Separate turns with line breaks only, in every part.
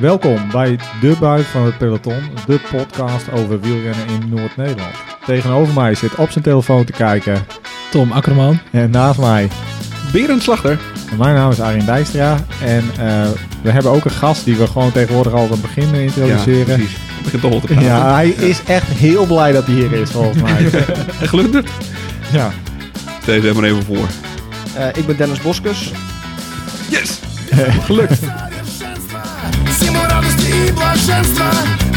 Welkom bij De Buit van het Peloton, de podcast over wielrennen in Noord-Nederland. Tegenover mij zit op zijn telefoon te kijken
Tom Akkerman.
en naast mij,
Berend Slachter.
mijn naam is Arjen Dijkstra en eh, we hebben ook een gast die we gewoon tegenwoordig al aan het begin introduceren.
precies. Het begint toch wel te
Ja,
praten. Ja.
hij is echt heel blij dat hij hier is volgens mij.
En glundert.
ja.
Deze hebben we even voor.
Eh, ik ben Dennis Boskus.
Yes! Gelukt.
Всему радости и блаженства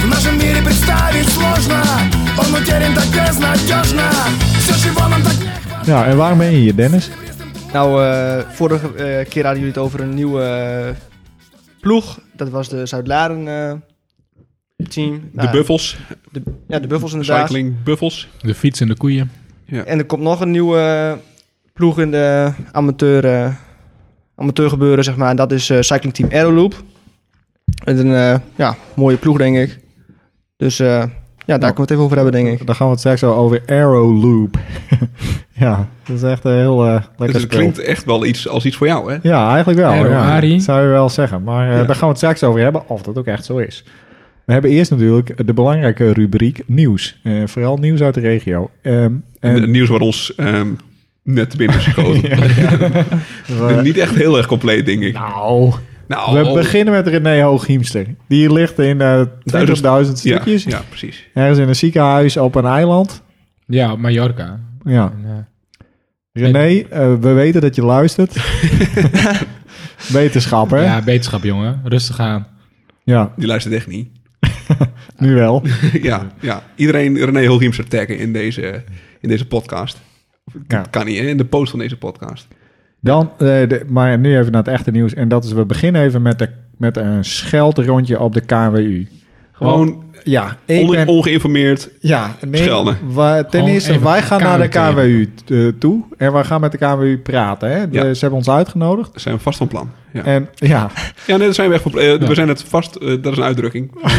В нашем мире представить сложно Он утерян так безнадежно Все, чего нам так не хватает
ja, en waarom ben je hier Dennis?
Nou, eh, vorige eh, keer hadden jullie het over een nieuwe eh, ploeg. Dat was de Zuid-Laren eh, team.
De buffels.
Ja, de Buffels inderdaad.
Cycling buffels.
De fiets en de koeien.
En er komt nog een nieuwe eh, ploeg in de amateur, eh, amateurgebeuren, zeg maar. En dat is eh, Cycling Team Aeroloop. Met een eh, ja, mooie ploeg, denk ik. Dus eh, ja, daar
Nou.
kunnen we het even over hebben, denk ik.
Daar gaan we het straks wel over Arrow Loop. ja, dat is echt een heel eh,
Dus
lekker
het
spul.
klinkt echt wel iets als iets voor jou, hè?
Ja, eigenlijk wel.
Aero
ja.
Ari.
Dat zou je wel zeggen. Maar eh,
Ja.
daar gaan we het straks over hebben, of dat ook echt zo is. We hebben eerst natuurlijk de belangrijke rubriek nieuws. Eh, vooral nieuws uit de regio. Ehm, en,
Het nieuws wat ons ehm, net binnen is gekomen.
we-
Niet echt heel erg compleet, denk ik.
nou,
Nou,
we beginnen met René Hooghiemster. Die ligt in eh 20.000
ja,
stukjes.
ja, precies.
Ergens in een ziekenhuis op een eiland.
Ja, op Mallorca.
Ja.
En, eh,
René, eh, we weten dat je luistert. Wetenschapper. Ja.
ja, wetenschap, jongen. Rustig aan.
ja,
Die luistert echt niet.
nu wel.
ja, ja, iedereen René Hilgiemser taggen in deze, in deze podcast.
Ja.
Kan niet, hè? In de post van deze podcast.
Dan, eh, de- maar nu even naar het echte nieuws. En dat is, we beginnen even met, de, met een scheldrondje op de KWU.
Gewoon
Ja, ik
onge-
ben-
ongeïnformeerd.
ja nee,
schelden.
wa- ten
Gewoon
eerste,
even
wij gaan naar de KWU
KWU
t- eh, toe. En wij gaan met de KWU praten. Hè? De-
Ja.
Ze hebben ons uitgenodigd.
Zijn we vast van plan. Ja,
En ja,
ja nee, dat zijn we echt van plan. Eh,
Ja.
We zijn het vast, eh, dat is een uitdrukking. En, eh,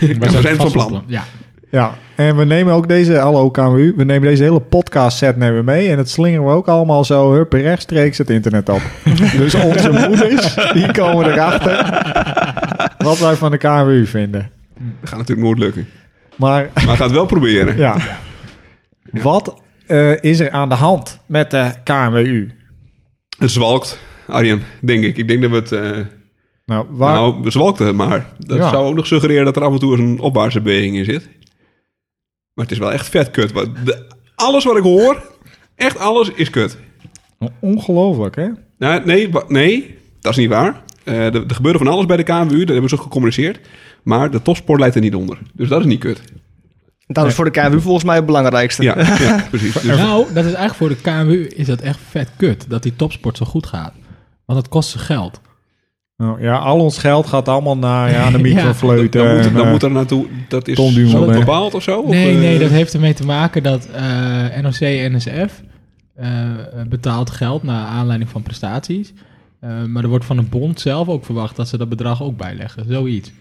We
we zijn het van plan.
Ja.
ja, en we nemen ook deze, hallo KWU, we nemen deze hele podcast set nemen we mee. En dat slingeren we ook allemaal zo hup, rechtstreeks het internet op. dus onze moeders, die komen erachter wat wij van de KWU vinden.
Dat gaat natuurlijk nooit lukken.
Maar
Maar we gaan het wel proberen.
Ja. Wat eh, is er aan de hand met de KMU?
Het zwalkt, Arjen, denk ik. Ik denk dat we het... eh
Nou, waar,
Nou, we zwalkten het maar. Dat
Ja.
zou ook nog suggereren dat er af en toe eens een opwaartse beweging in zit. Maar het is wel echt vet kut. Want de- alles wat ik hoor, echt alles is kut.
ongelooflijk hè?
Nou, nee, wa- nee, dat is niet waar. Eh, er, er gebeurde van alles bij de KMU, dat hebben ze ook gecommuniceerd. Maar de topsport leidt er niet onder. Dus dat is niet kut.
Dat is voor de KWU volgens mij het belangrijkste.
Ja, ja precies. Dus-
Nou, dat is eigenlijk voor de KMU is dat echt vet kut. Dat die topsport zo goed gaat. Want het kost ze geld.
Nou, ja, al ons geld gaat allemaal naar ja, de
Ja,
microfleuten.
dan, moet,
en,
dan
eh,
moet er naartoe. Dat is
Tom Dumoulin.
zo bepaald of zo? Of,
Nee,
eh,
nee, dat heeft ermee te maken dat eh, NOC en NSF eh, betaalt geld naar aanleiding van prestaties. Eh, maar er wordt van de bond zelf ook verwacht dat ze dat bedrag ook bijleggen. Zoiets.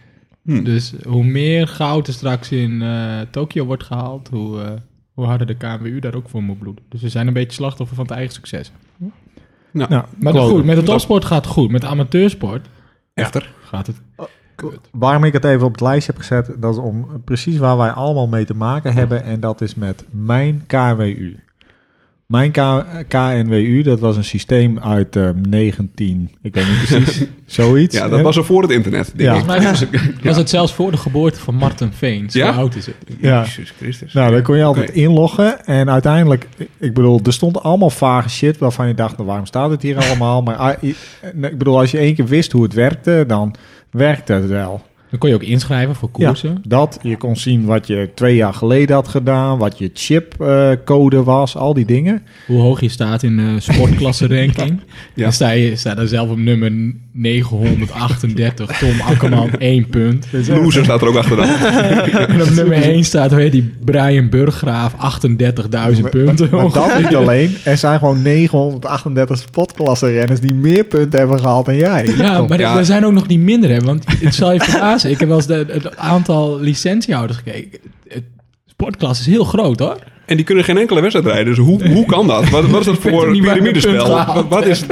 Hmm.
Dus hoe meer goud er straks in eh, Tokio wordt gehaald, hoe, eh, hoe harder de KMU daar ook voor moet bloeden. Dus we zijn een beetje slachtoffer van het eigen succes.
Nou,
nou,
Maar
klopt.
goed, met de topsport gaat het goed. Met de amateursport
echter.
gaat het kut.
Waarom ik het even op het lijstje heb gezet, dat is om precies waar wij allemaal mee te maken hebben. En dat is met mijn KWU. Mijn K- KNWU, dat was een systeem uit eh, 19, ik weet niet precies, zoiets.
Ja, dat
hè?
was er voor het internet. Denk
Ja.
ik.
Volgens mij was, was het zelfs voor de geboorte van Martin Veen. Zo
Ja?
oud is het.
Ja.
Jezus Christus.
Nou, daar kon je altijd
Oké.
inloggen. En uiteindelijk, ik bedoel, er stond allemaal vage shit waarvan je dacht, nou, waarom staat het hier allemaal? Maar ah, i- ik bedoel, als je één keer wist hoe het werkte, dan werkte het wel.
Dan kon je ook inschrijven voor koersen.
Dat, je kon zien wat je twee jaar geleden had gedaan, wat je chipcode was, al die dingen.
Hoe hoog je staat in de sportklasse ranking.
Ja.
Dan sta je staat dan zelf op nummer 938. Tom Akkerman 1 punt.
Loser staat er ook achteraan.
En op nummer 1 staat weet die Brian Burggraaf 38.000 punten.
Maar dat niet alleen. Er zijn gewoon 938 spotklassenrenners die meer punten hebben gehaald dan jij.
Ja, maar
Ja.
er- er zijn ook nog die minder, hè? Want het zal je verbazen. Ik heb wel eens de- het aantal licentiehouders gekeken. Het sportklasse is heel groot, hoor.
En die kunnen geen enkele wedstrijd rijden. Dus hoe, hoe kan dat? Wat, wat is dat voor
niet waar je punt
piramidespel?
gehaald
Wat, wat is,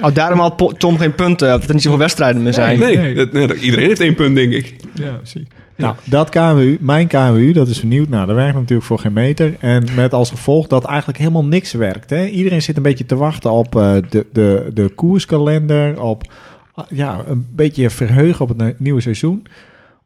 Oh, daarom had Po- Tom geen punten, omdat er niet zoveel wedstrijden meer zijn.
nee,
nee.
dat- nee, dat- iedereen heeft één punt, denk ik.
Ja, precies.
Nou, dat KMU, mijn KMU, dat is vernieuwd. Nou, dat werkt natuurlijk voor geen meter. En met als gevolg dat eigenlijk helemaal niks werkt. Hè? Iedereen zit een beetje te wachten op eh, de, de, de koerskalender. Op ah, ja, een beetje verheugen op het ne- nieuwe seizoen.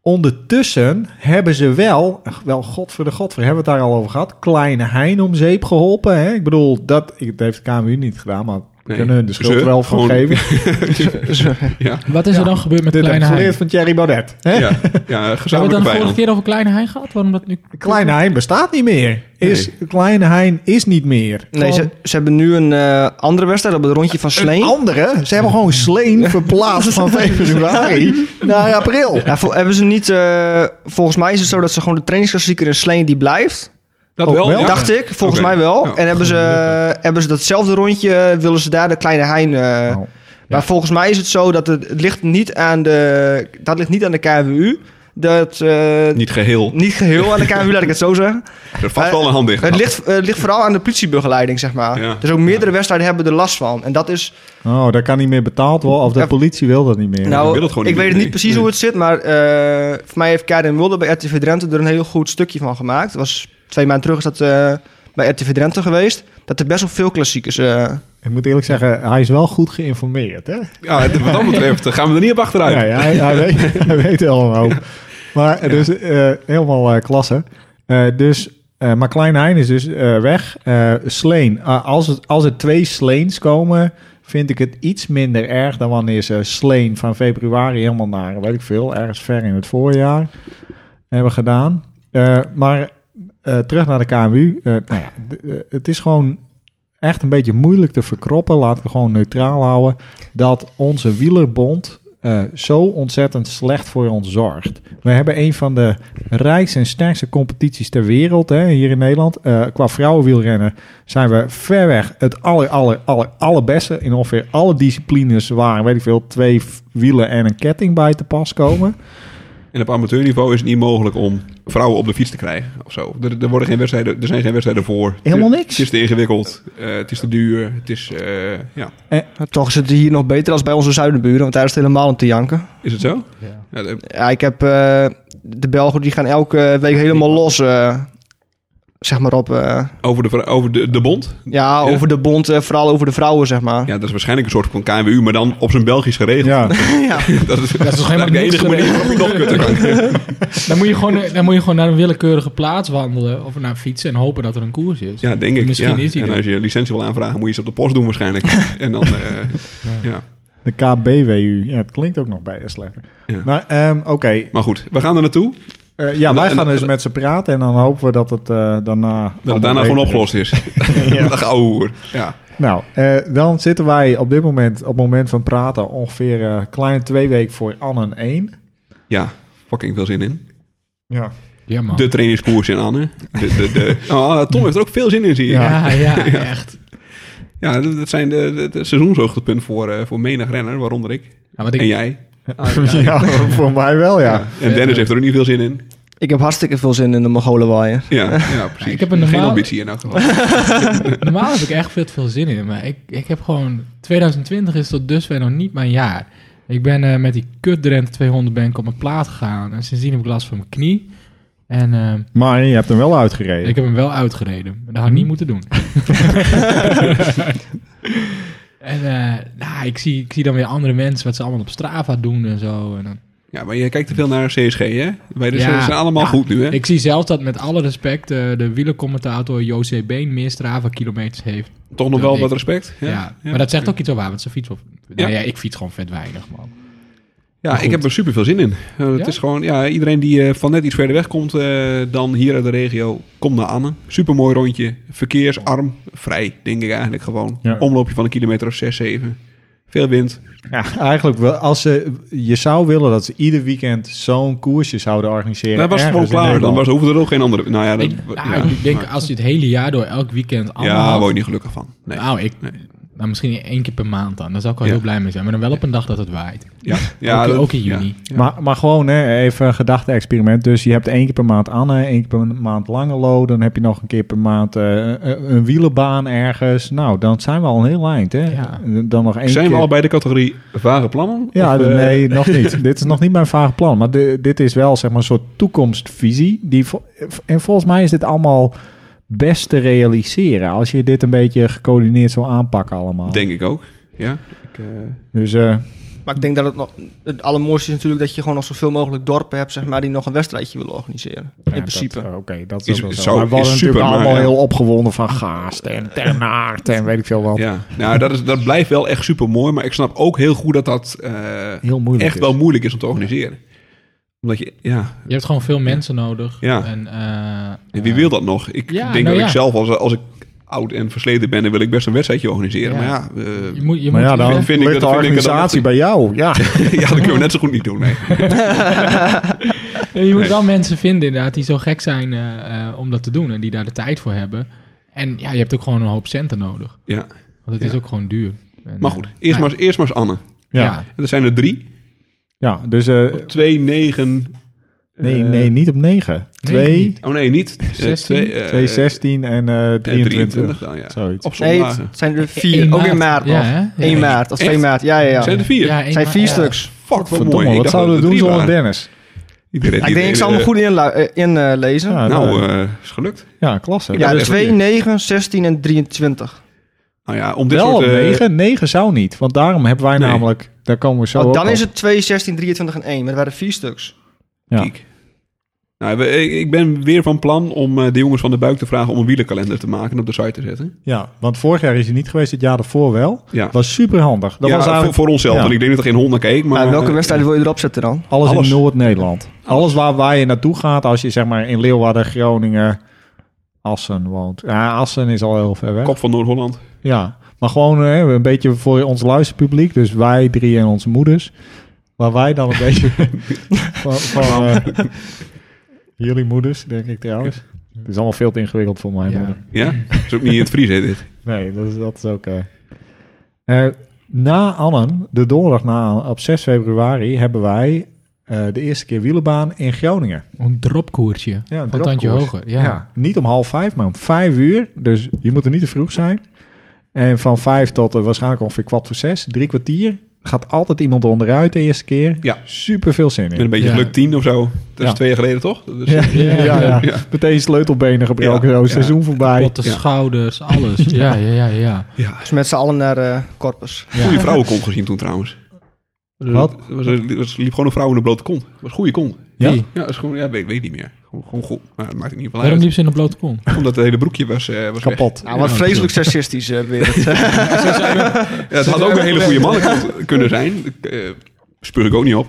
Ondertussen hebben ze wel, ach, wel godver de godver, hebben we het daar al over gehad. Kleine Hein om zeep geholpen. Hè? Ik bedoel, dat, ik- dat heeft de KMU niet gedaan, maar we
Nee.
kunnen hun de schuld
Ze,
wel van
gewoon-
geven.
Ja,
Wat is er dan gebeurd met
Dit heb ik
Kleine Hein?
geleerd van Thierry Baudet. Hè?
ja, ja
Hebben we
gezamenlijke
het dan de vorige
vijand.
keer over Kleine Hein gehad? Waarom dat nu...
Kleine Hein bestaat niet meer. Is, Kleine Hein is niet meer.
Nee, ze,
Gewoon
ze hebben nu een eh, andere wedstrijd op het rondje van
een
Sleen.
andere. Ze hebben gewoon Sleen verplaatst van 5 februari naar april.
Ja, vol- hebben ze niet, eh, volgens mij is het zo dat ze gewoon de trainingsklassieker in Sleen die blijft.
Dat
Ook
wel,
Oh, wel?
ja.
Oh, Dacht ik, volgens
Oké.
mij wel.
Ja.
en hebben ze, hebben ze datzelfde rondje, eh, willen ze daar de kleine hein. eh,
Oh.
Maar volgens mij is het zo dat het, het ligt niet aan de. Dat ligt niet aan de KWU. Dat. eh,
Niet geheel.
niet geheel aan de KWU, laat ik het zo zeggen.
Er vast
Eh,
wel een hand dicht.
Het ligt, eh, het ligt vooral aan de politiebegeleiding, zeg maar.
Ja.
Dus ook meerdere wedstrijden hebben er last van. En dat is.
Oh, dat kan niet meer betaald worden. Of de
Ja.
politie wil dat niet meer.
nou,
wil het gewoon
ik
niet
weet
meer,
het niet
nee.
precies hoe het zit, maar eh, voor mij heeft Karin Mulder bij RTV Drenthe er een heel goed stukje van gemaakt. Het was twee maanden terug is dat eh, bij RTV Drenthe geweest. Dat er best wel veel klassiekers. eh,
Ik moet eerlijk zeggen, hij is wel goed geïnformeerd. Hè?
Ja, het- wat dat betreft eh, gaan we er niet op achteruit.
Nee, hij, hij, weet, hij weet wel een hoop. Maar eh, dus eh, helemaal eh, klasse. Eh, dus, eh, maar Klein Hein is dus eh, weg. Eh, Sleen. Ah, als, het, als er twee Sleens komen, vind ik het iets minder erg dan wanneer ze Sleen van februari helemaal naar, weet ik veel, ergens ver in het voorjaar hebben gedaan. Eh, maar eh, terug naar de KMU. Eh, nou ja, d- eh, het is gewoon echt een beetje moeilijk te verkroppen. Laten we gewoon neutraal houden. Dat onze wielerbond eh, zo ontzettend slecht voor ons zorgt. We hebben een van de rijkste en sterkste competities ter wereld hè, hier in Nederland. Eh, qua vrouwenwielrennen zijn we ver weg het aller, aller, aller, allerbeste. In ongeveer alle disciplines waar, weet ik veel, twee v- wielen en een ketting bij te pas komen.
En op amateurniveau is het niet mogelijk om vrouwen op de fiets te krijgen of zo. Er, er, worden geen wedstrijden, er zijn geen wedstrijden voor.
Helemaal
Het-
niks.
Het is te ingewikkeld. eh, het is te duur. Het is, eh, ja.
nou, toch is het hier nog beter als bij onze zuidenburen, want daar is het helemaal om te janken.
Is het zo?
Ja.
Ja, de-
Ja, ik heb eh, de Belgen die gaan elke week helemaal los. eh, zeg maar op. eh,
over de, vrou- over de, de bond?
ja, over de bond, eh, vooral over de vrouwen, zeg maar.
Ja, dat is waarschijnlijk een soort van KNWU, maar dan op zijn Belgisch geregeld.
Ja.
Dat is, dat is
helemaal
eigenlijk de enige
niks
manier waarop je nog kunt kan.
Dan moet, je gewoon, eh, dan moet je gewoon naar een willekeurige plaats wandelen. Of naar fietsen en hopen dat er een koers is.
Ja, denk ik.
Misschien
ja.
is hij
en
er.
als je licentie wil aanvragen, moet je ze op de post doen waarschijnlijk. en dan, eh, ja.
De KBWU. Ja, het klinkt ook nog bij slechter.
Ja.
Maar ehm, oké.
Maar goed, we gaan er naartoe.
Eh, ja,
En-
wij
en-
gaan dus met ze praten en dan hopen we dat het eh, daarna...
Dat
allemaal
het daarna
beter
gewoon
is.
opgelost is.
Ja.
Dat ouwe hoer. Ja.
Nou, eh, dan zitten wij op dit moment, op het moment van praten, ongeveer eh kleine twee weken voor Annen 1.
ja, fucking veel zin in.
Ja.
Ja, man.
De trainingskoers in Anne. De, de, de, oh, Tom heeft er ook veel zin in, zie je. Ja,
Ja, ja, echt.
dat dat zijn de, de, de seizoenshoogtepunten voor, eh, voor menig renner, waaronder ik.
Ja, Nou, want ik,
En jij.
ja, voor mij wel, ja.
En Dennis heeft er ook niet veel zin in.
Ik heb hartstikke veel zin in de Mongolenwaaien.
Ja, ja precies.
Ik heb een
Geen
normaal-
ambitie in elk geval.
normaal heb ik echt veel te veel zin in. Maar ik, ik heb gewoon... 2020 is tot dusver nog niet mijn jaar. Ik ben eh, met die kut Drenthe 200 ben ik op mijn plaat gegaan. En sindsdien heb ik last van mijn knie. En eh,
Maar je hebt hem wel uitgereden.
ik heb hem wel uitgereden. Maar Dat had ik niet moeten doen. en eh, nou, ik, zie, ik zie dan weer andere mensen wat ze allemaal op Strava doen en zo. En dan
Ja, maar je kijkt te veel naar CSG, hè? Wij dus,
Ja.
ze zijn allemaal
Ja.
goed nu, hè?
Ik zie zelfs dat met alle respect eh, de wielercommentator José Been meer Strava-kilometers heeft.
Toch nog wel
Ik-
wat respect. Ja,
Ja. Maar dat zegt ook iets over waar, want ze fietsen op... Nou ja, ik fiets gewoon vet weinig, man.
Ja,
Maar
ik
goed.
heb er super veel zin in. Eh, Het
Ja?
is gewoon, ja, iedereen die eh, van net iets verder weg komt eh, dan hier uit de regio, kom naar Anne. Super mooi rondje. Verkeersarm, vrij, denk ik eigenlijk gewoon.
Ja.
Omloopje van een kilometer of 6, 7. Veel wind.
Ja, eigenlijk wel. Als ze, je zou willen dat ze ieder weekend zo'n koersje zouden organiseren.
dat was het gewoon
ergens in
klaar. Dan
Nederland.
was, hoefde er ook geen andere. Nou ja, dat,
Ik, nou,
ja,
ik denk,
maar-
als je het hele jaar door elk weekend
ja, daar
allemaal...
word je niet gelukkig van. Nee.
Nou, ik...
Nee.
Nou, misschien één keer per maand dan. Daar zou ik wel
Ja.
heel blij mee zijn. Maar dan wel op een dag dat het waait.
Ja,
ook,
dat-
ook in
ja.
juni.
Maar, maar gewoon hè, even een gedachte-experiment. Dus je hebt één keer per maand Anne, één keer per maand Langelo. Dan heb je nog een keer per maand eh, een, een wielenbaan ergens. Nou, dan zijn we al een heel eind. Hè?
Ja.
Dan nog één
Zijn we
keer...
al bij de categorie vage plannen?
Ja,
Of, eh,
nee, nog niet. dit is nog niet mijn vage plan. Maar di- dit is wel zeg maar, een soort toekomstvisie. Die, vo- en volgens mij is dit allemaal best te realiseren. Als je dit een beetje gecoördineerd zou aanpakken allemaal.
Denk ik ook. Ja. Ik, eh,
Dus eh,
Maar ik denk dat het, nog, het allermooiste is natuurlijk dat je gewoon nog zoveel mogelijk dorpen hebt, zeg maar, die nog een wedstrijdje willen organiseren.
ja,
in principe.
dat, eh, Oké, dat is,
Is-
ook wel zo.
zou-
maar we
is
waren
super,
natuurlijk
maar
allemaal
ja.
heel opgewonden van gaast en ternaard en weet ik veel wat.
ja. Nou, dat, is, dat blijft wel echt super mooi. Maar ik snap ook heel goed dat dat eh,
Heel moeilijk
echt
is.
wel moeilijk is om te organiseren. Omdat je, ja.
Je hebt gewoon veel mensen nodig.
Ja.
En, eh,
En wie wil dat nog? Ik
Ja,
denk
nou
dat
ja.
ik zelf, als, als ik oud en versleten ben, dan wil ik best een wedstrijdje organiseren.
Ja.
Maar ja, eh,
Je moet, je
Maar
moet
ja, dan
vind ik
ligt de
dat- vind ik dat-
organisatie bij jou. Ja,
ja, dat kunnen we net zo goed niet doen. Nee.
Je moet wel mensen vinden inderdaad die zo gek zijn eh, eh, om dat te doen en die daar de tijd voor hebben. En ja, je hebt ook gewoon een hoop centen nodig.
Ja.
Want het is ook gewoon duur. En,
Maar
eh,
goed, eerst, maar, eerst maar eens Anne.
ja.
ja.
ja.
En dat zijn er drie.
dus eh,
Twee, negen...
nee,
eh,
nee, niet op 9.
Nee,
2,
niet.
Oh nee, niet. Eh,
16,
twee, eh,
2, 16 en eh,
en
23.
dan, ja.
Zoiets.
Op eh,
Nee,
zondagen.
het zijn er
Eén
vier. Ook in maart nog.
E-, Ja, hè? Ja.
1 maart of 2
Echt?
maart. Ja, ja, ja.
Zijn er vier?
Ja, één
Het zijn
maart,
vier
ja.
stuks.
Fuck, wat
Verdomme,
mooi. Ik
wat
dacht
zouden we
dat er
doen
drie
zonder Ah,
waren.
Dennis?
Iedereen
Ja,
die-
ik denk, ik zal me
iedereen-
goed inlezen. in, eh, lezen.
Ja,
eh, Nou,
eh,
eh, is gelukt.
ja, klasse.
ik
ja,
dat
de
is
2,
goed.
9, 16 en 23.
Nou ja, om dit
Wel op
soort... eh,
9? 9 zou niet. Want daarom hebben wij
Nee. Oh,
namelijk... Daar komen we zo
Want
ook
dan
op.
is het 2, 16, 23 en 1. Maar er waren vier stuks.
Ja.
Kiek. Nou, we- ik ik ben weer van plan om eh, de jongens van de buik te vragen om een wielerkalender te maken en op de site te zetten.
Ja, want vorig jaar is hij niet geweest. Het jaar daarvoor wel.
Ja,
was super handig. Dat
ja
was
voor,
eigenlijk
voor onszelf.
ja.
Want ik denk dat er geen hond naar keek. Maar,
Maar welke
eh,
wedstrijd wil je erop zetten dan?
alles,
alles.
in Noord-Nederland. Alles waar, waar je naartoe gaat als je zeg maar in Leeuwarden, Groningen, Assen woont. Ja, Assen is al heel ver weg.
Kop van Noord-Holland.
Ja, maar gewoon hè, een beetje voor ons luisterpubliek. Dus wij drie en onze moeders. Waar wij dan een beetje van... van, eh, jullie moeders, denk ik trouwens. Het is allemaal veel te ingewikkeld voor mijn
Ja.
moeder.
Ja? Dat is ook niet in het Fries, hè, dit.
Nee, dat is, dat is ook... eh. Eh, na Annen, de donderdag na Annen, op 6 februari, hebben wij eh, de eerste keer wielerbaan in Groningen.
Een dropkoertje.
Ja, een
van tandje
dropkoers.
hoger.
Ja.
Ja.
niet om half vijf, maar om vijf uur. Dus je moet er niet te vroeg zijn. En van vijf tot eh, waarschijnlijk ongeveer kwart voor zes, drie kwartier. Gaat altijd iemand onderuit de eerste keer.
Ja.
Super veel zin
Met een
in.
beetje
Ja.
geluk tien of zo. Dat is
Ja.
twee jaar geleden, toch? Dat is-
Ja, ja, ja,
Ja.
Ja.
Meteen sleutelbenen gebroken,
Ja.
zo,
Ja.
seizoen voorbij.
Potten,
Ja.
schouders, alles. ja, ja, ja, ja.
Ja.
Dus met z'n allen naar eh Corpus.
ja.
Goede vrouwen kon gezien toen trouwens.
Wat?
Er was, er was- liep gewoon een vrouw in een blote kont. Het was een goede kont.
Ja?
Wie?
Ja, dat is gewoon, ja weet, weet niet meer. Gewoon, gewoon goed. Maar dat maakt in ieder geval
Waarom
uit.
liep ze in een blote kom?
Omdat het hele broekje was, eh was weg.
Kapot.
Nou, wat
Ja,
vreselijk seksistisch eh, weer. het.
Ja, het had ook een hele goede mannenkont kunnen zijn. Ik, eh, speur ik ook niet op.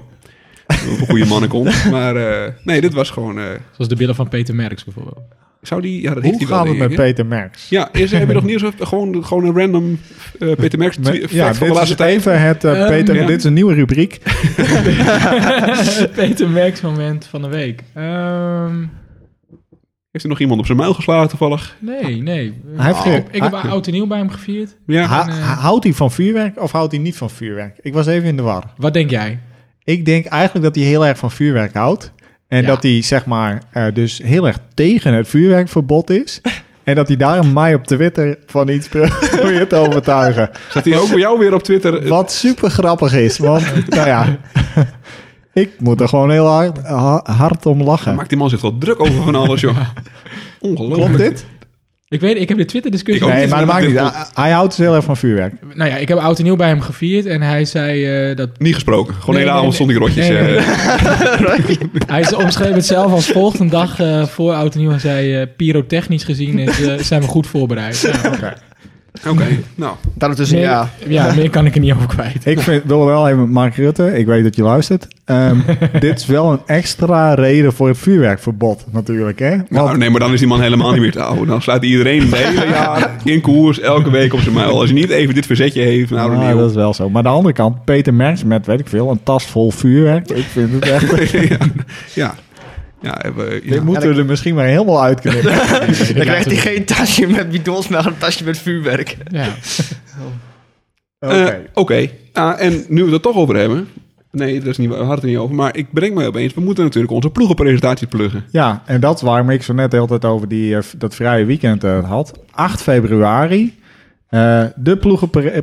Of een goede mannenkont. Maar eh, nee, dit was gewoon... eh,
Zoals de billen van Peter Merks bijvoorbeeld.
zou die... Ja, dat heeft
Hoe
hij wel,
gaat het
denk
met
ik, hè?
Peter Merks?
Ja, is, heb je nog nieuws? Of Gewoon, gewoon een random eh, Peter Merks
Met- ja,
tweet van de
dit is
laatste tijd.
even het, eh,
Ehm,
Peter,
ja.
dit is een nieuwe rubriek.
Peter Merks moment van de week. Ehm,
Heeft er nog iemand op zijn muil geslagen toevallig?
nee, nee.
Hij heeft ge-
ik heb
Ah.
oud en nieuw bij hem gevierd.
Ja.
Ha-
en, eh,
houdt hij van vuurwerk of houdt hij niet van vuurwerk? Ik was even in de war.
Wat denk jij?
Ik denk eigenlijk dat hij heel erg van vuurwerk houdt. En
Ja.
dat hij, zeg maar, eh, dus heel erg tegen het vuurwerkverbod is. En dat hij daarom mij op Twitter van iets probeert te overtuigen.
Zat hij ook bij jou weer op Twitter? eh,
Wat super grappig is. Want, nou ja, ik moet er gewoon heel hard, ha- hard om lachen.
Eh, Maakt die man zich wel druk over van alles, joh. Ongelooflijk.
Klopt dit?
Ik weet, ik heb de Twitter-discussie
Ik ook.
Nee,
niet
maar dat
dat
maakt
dit
niet.
klopt.
Hij- Hij houdt dus heel erg van vuurwerk.
Nou ja, ik heb oud en nieuw bij hem gevierd en hij zei eh, dat...
Niet gesproken. Gewoon
Nee,
de hele
nee,
avond stond ik
nee.
rotjes.
Nee, nee,
eh.
Hij is- omschreef het zelf als volgt. Een dag eh, voor oud en nieuw en zei, eh, pyrotechnisch gezien is, eh, zijn we goed voorbereid. Nou,
Oké, nou.
Daartussen,
meer,
dus- ja.
ja, meer kan ik er niet over kwijt.
Ik vind, wil wel even, Mark Rutte, ik weet dat je luistert. Ehm, dit is wel een extra reden voor het vuurwerkverbod natuurlijk, hè? Want
Nou, nee, maar dan is die man helemaal niet meer te houden. Dan sluit iedereen de hele jaar in koers, elke week op zijn muil. Als hij niet even dit verzetje heeft, nou dan
Ja,
niet.
dat is wel zo. Maar aan de andere kant, Peter Merks met, weet ik veel, een tas vol vuurwerk. Ik vind het echt...
ja, ja. ja, hebben, ja.
Dit moeten we er misschien maar helemaal uitknippen.
Dan krijgt hij geen tasje met bidons, maar een tasje met vuurwerk.
Ja.
Oké.
Eh, Oké. Ah, en nu we het er toch over hebben. Nee, dat is niet, waar, we hadden het er niet over. Maar ik breng me opeens. We moeten natuurlijk onze ploegenpresentatie pluggen.
Ja, en dat waarom ik zo net de hele tijd over die, eh, v- dat vrije weekend eh, had. 8 februari, eh, de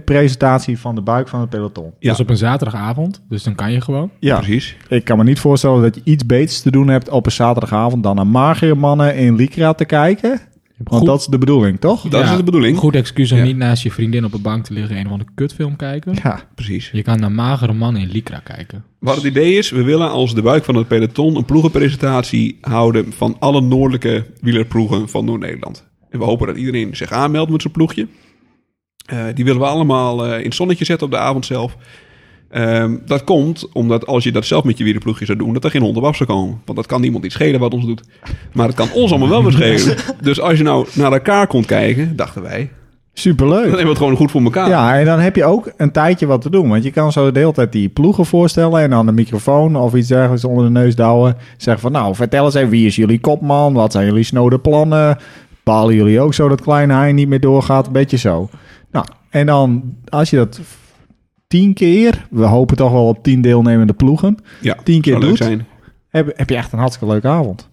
ploegenpresentatie van de buik van het peloton.
Ja.
Dat is op een zaterdagavond, dus dan kan je gewoon.
Ja,
Precies.
ik kan me niet voorstellen dat je iets beters te doen hebt op een zaterdagavond dan naar magere mannen in Lycra te kijken. Want
Goed-
dat is de bedoeling, toch?
Dat is de bedoeling.
Goed excuus om
Ja.
niet naast je vriendin op een bank te liggen en een of andere kutfilm kijken.
Ja,
Precies.
Je kan naar magere mannen in Lycra kijken.
Wat het idee is, we willen als de buik van het peloton een ploegenpresentatie houden van alle noordelijke wielerploegen van Noord-Nederland. En we hopen dat iedereen zich aanmeldt met zijn ploegje. Eh, die willen we allemaal eh, in het zonnetje zetten op de avond zelf. Ehm, dat komt omdat als je dat zelf met je wielerploegje zou doen, dat er geen hond op af zou komen. Want dat kan niemand iets schelen wat ons doet. Maar het kan ons allemaal wel wat schelen. Dus als je nou naar elkaar komt kijken, dachten wij,
superleuk.
dan hebben we het gewoon goed voor
Ah.
elkaar.
Ja, en dan heb je ook een tijdje wat te doen. Want je kan zo de hele tijd die ploegen voorstellen... en dan een microfoon of iets dergelijks onder de neus douwen. Zeggen van, nou, vertel eens even, wie is jullie kopman? Wat zijn jullie snode plannen? Bepalen jullie ook zo dat Kleine Hein niet meer doorgaat? Een beetje zo. Nou, en dan als je dat tien keer... we hopen toch wel op tien deelnemende ploegen...
Ja,
tien keer
zou leuk
doet,
zijn.
heb, heb je echt een hartstikke leuke avond.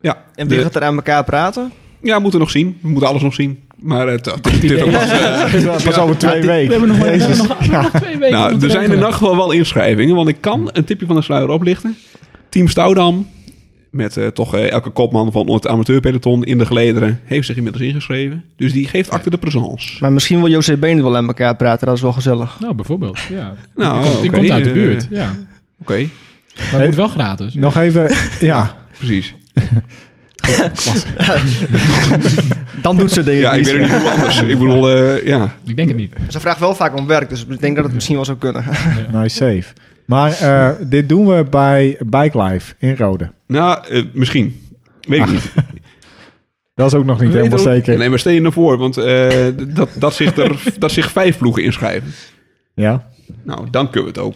Ja,
En wie
de-
gaat er aan elkaar praten?
Ja, we moeten nog zien. We moeten alles nog zien. Maar het, het, het is nog wat, eh,
Pas over twee weken.
We hebben nog, nog twee weken. om
nou,
te
er zijn in
regelen.
nacht wel wel inschrijvingen. Want ik kan een tipje van de sluier oplichten. Team Stoudam. Met eh, toch eh, elke kopman van het amateurpeloton in de gelederen. Heeft zich inmiddels ingeschreven. Dus die geeft acte de présence.
Maar misschien wil José Been wel aan elkaar praten, dat is wel gezellig.
Nou, bijvoorbeeld. Ja.
Nou,
die, komt, die
oké,
komt uit de
eh,
buurt. Ja.
Oké,
Maar het moet wel gratis.
Nog even, ja...
precies.
Dan doet ze dingen
Ja, ik
niet.
weet het niet hoe anders. Ik bedoel, eh, ja.
Ik denk het niet.
Ze vraagt wel vaak om werk, dus ik denk dat het misschien wel zou kunnen.
Nice save. Maar eh, dit doen we bij Bike Life in Rode.
Nou, eh, misschien. Weet ik niet.
Dat is ook nog niet
Weet
Ah, helemaal
ook-
zeker.
Nee, maar stel je nou voor, want eh, dat, dat, zich er, dat zich vijf ploegen inschrijven.
Ja,
Nou, dan kunnen we het ook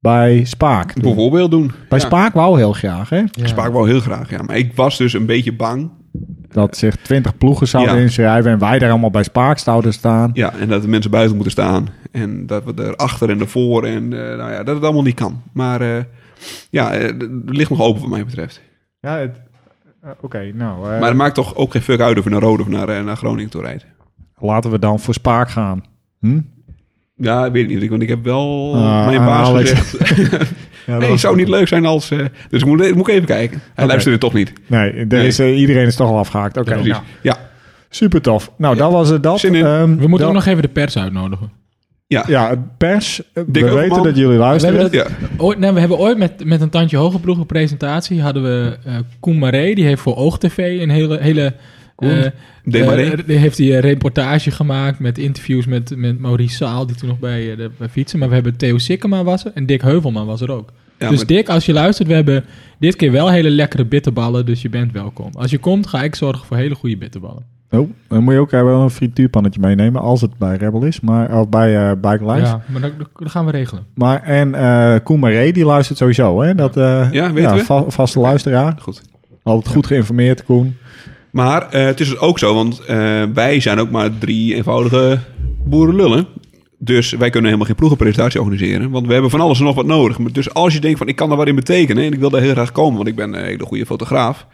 bij Spaak. doen.
bijvoorbeeld doen.
Bij
Ja.
Spaak wou heel graag, hè?
Ja.
Spaak wou heel graag, ja. Maar ik was dus een beetje bang.
Dat zich twintig ploegen zouden
Ja.
inschrijven en wij daar allemaal bij Spaak zouden staan.
Ja, en dat de mensen buiten moeten staan. En dat we er achter en ervoor en eh, nou ja, dat het allemaal niet kan. Maar eh, ja, eh, het ligt nog open wat mij betreft.
Ja, het- eh, oké, nou. eh,
Maar het maakt toch ook geen fuck uit of je naar Rode of naar, eh, naar Groningen toe rijdt.
Laten we dan voor Spaak gaan. Hm?
Ja, ik weet het niet. Want ik heb wel
Ah,
mijn
aan
baas
Alex.
gezegd.
Ja,
nee,
dat-
het zou niet leuk zijn als... eh, dus ik moet, ik moet even kijken. Hij luisterde toch niet.
Nee, er Is, eh, iedereen is toch al afgehaakt. Oké,
Precies.
nou,
Ja,
super tof. Nou, dat was het dat.
Zin in.
Ehm,
We moeten
dat-
ook nog even de pers uitnodigen.
Ja, pers, eh, we
Overman.
weten dat jullie
We hebben,
luisteren.
dat-
ja.
ooit, nee, we hebben ooit met, met een tandje hoger ploeg een presentatie. Hadden we eh Koen Maré, die heeft voor OogTV een hele... hele
Koen
eh,
De Maré.
eh, die heeft hij een reportage gemaakt met interviews met, met Maurice Saal, die toen nog bij, eh, de, bij fietsen. Maar we hebben Theo Sikkema was er en Dick Heuvelman was er ook.
Ja,
dus
maar-
Dick, als je luistert, we hebben dit keer wel hele lekkere bitterballen, dus je bent welkom. Als je komt, ga ik zorgen voor hele goede bitterballen.
Oh, dan moet je ook eh, wel een frituurpannetje meenemen als het bij Rebel is, maar of bij eh, Bike Life.
Ja, maar dat, dat gaan we regelen.
Maar en eh Koen Maré, die luistert sowieso, hè? Dat, eh,
Ja, weten we.
va- vaste luisteraar.
goed.
Altijd goed geïnformeerd, Koen.
Maar eh, het is dus ook zo, want eh, wij zijn ook maar drie eenvoudige boerenlullen. Dus wij kunnen helemaal geen ploegenpresentatie organiseren. Want we hebben van alles en nog wat nodig. Maar Dus als je denkt van ik kan daar wat in betekenen en ik wil daar heel graag komen, want ik ben een hele goede fotograaf.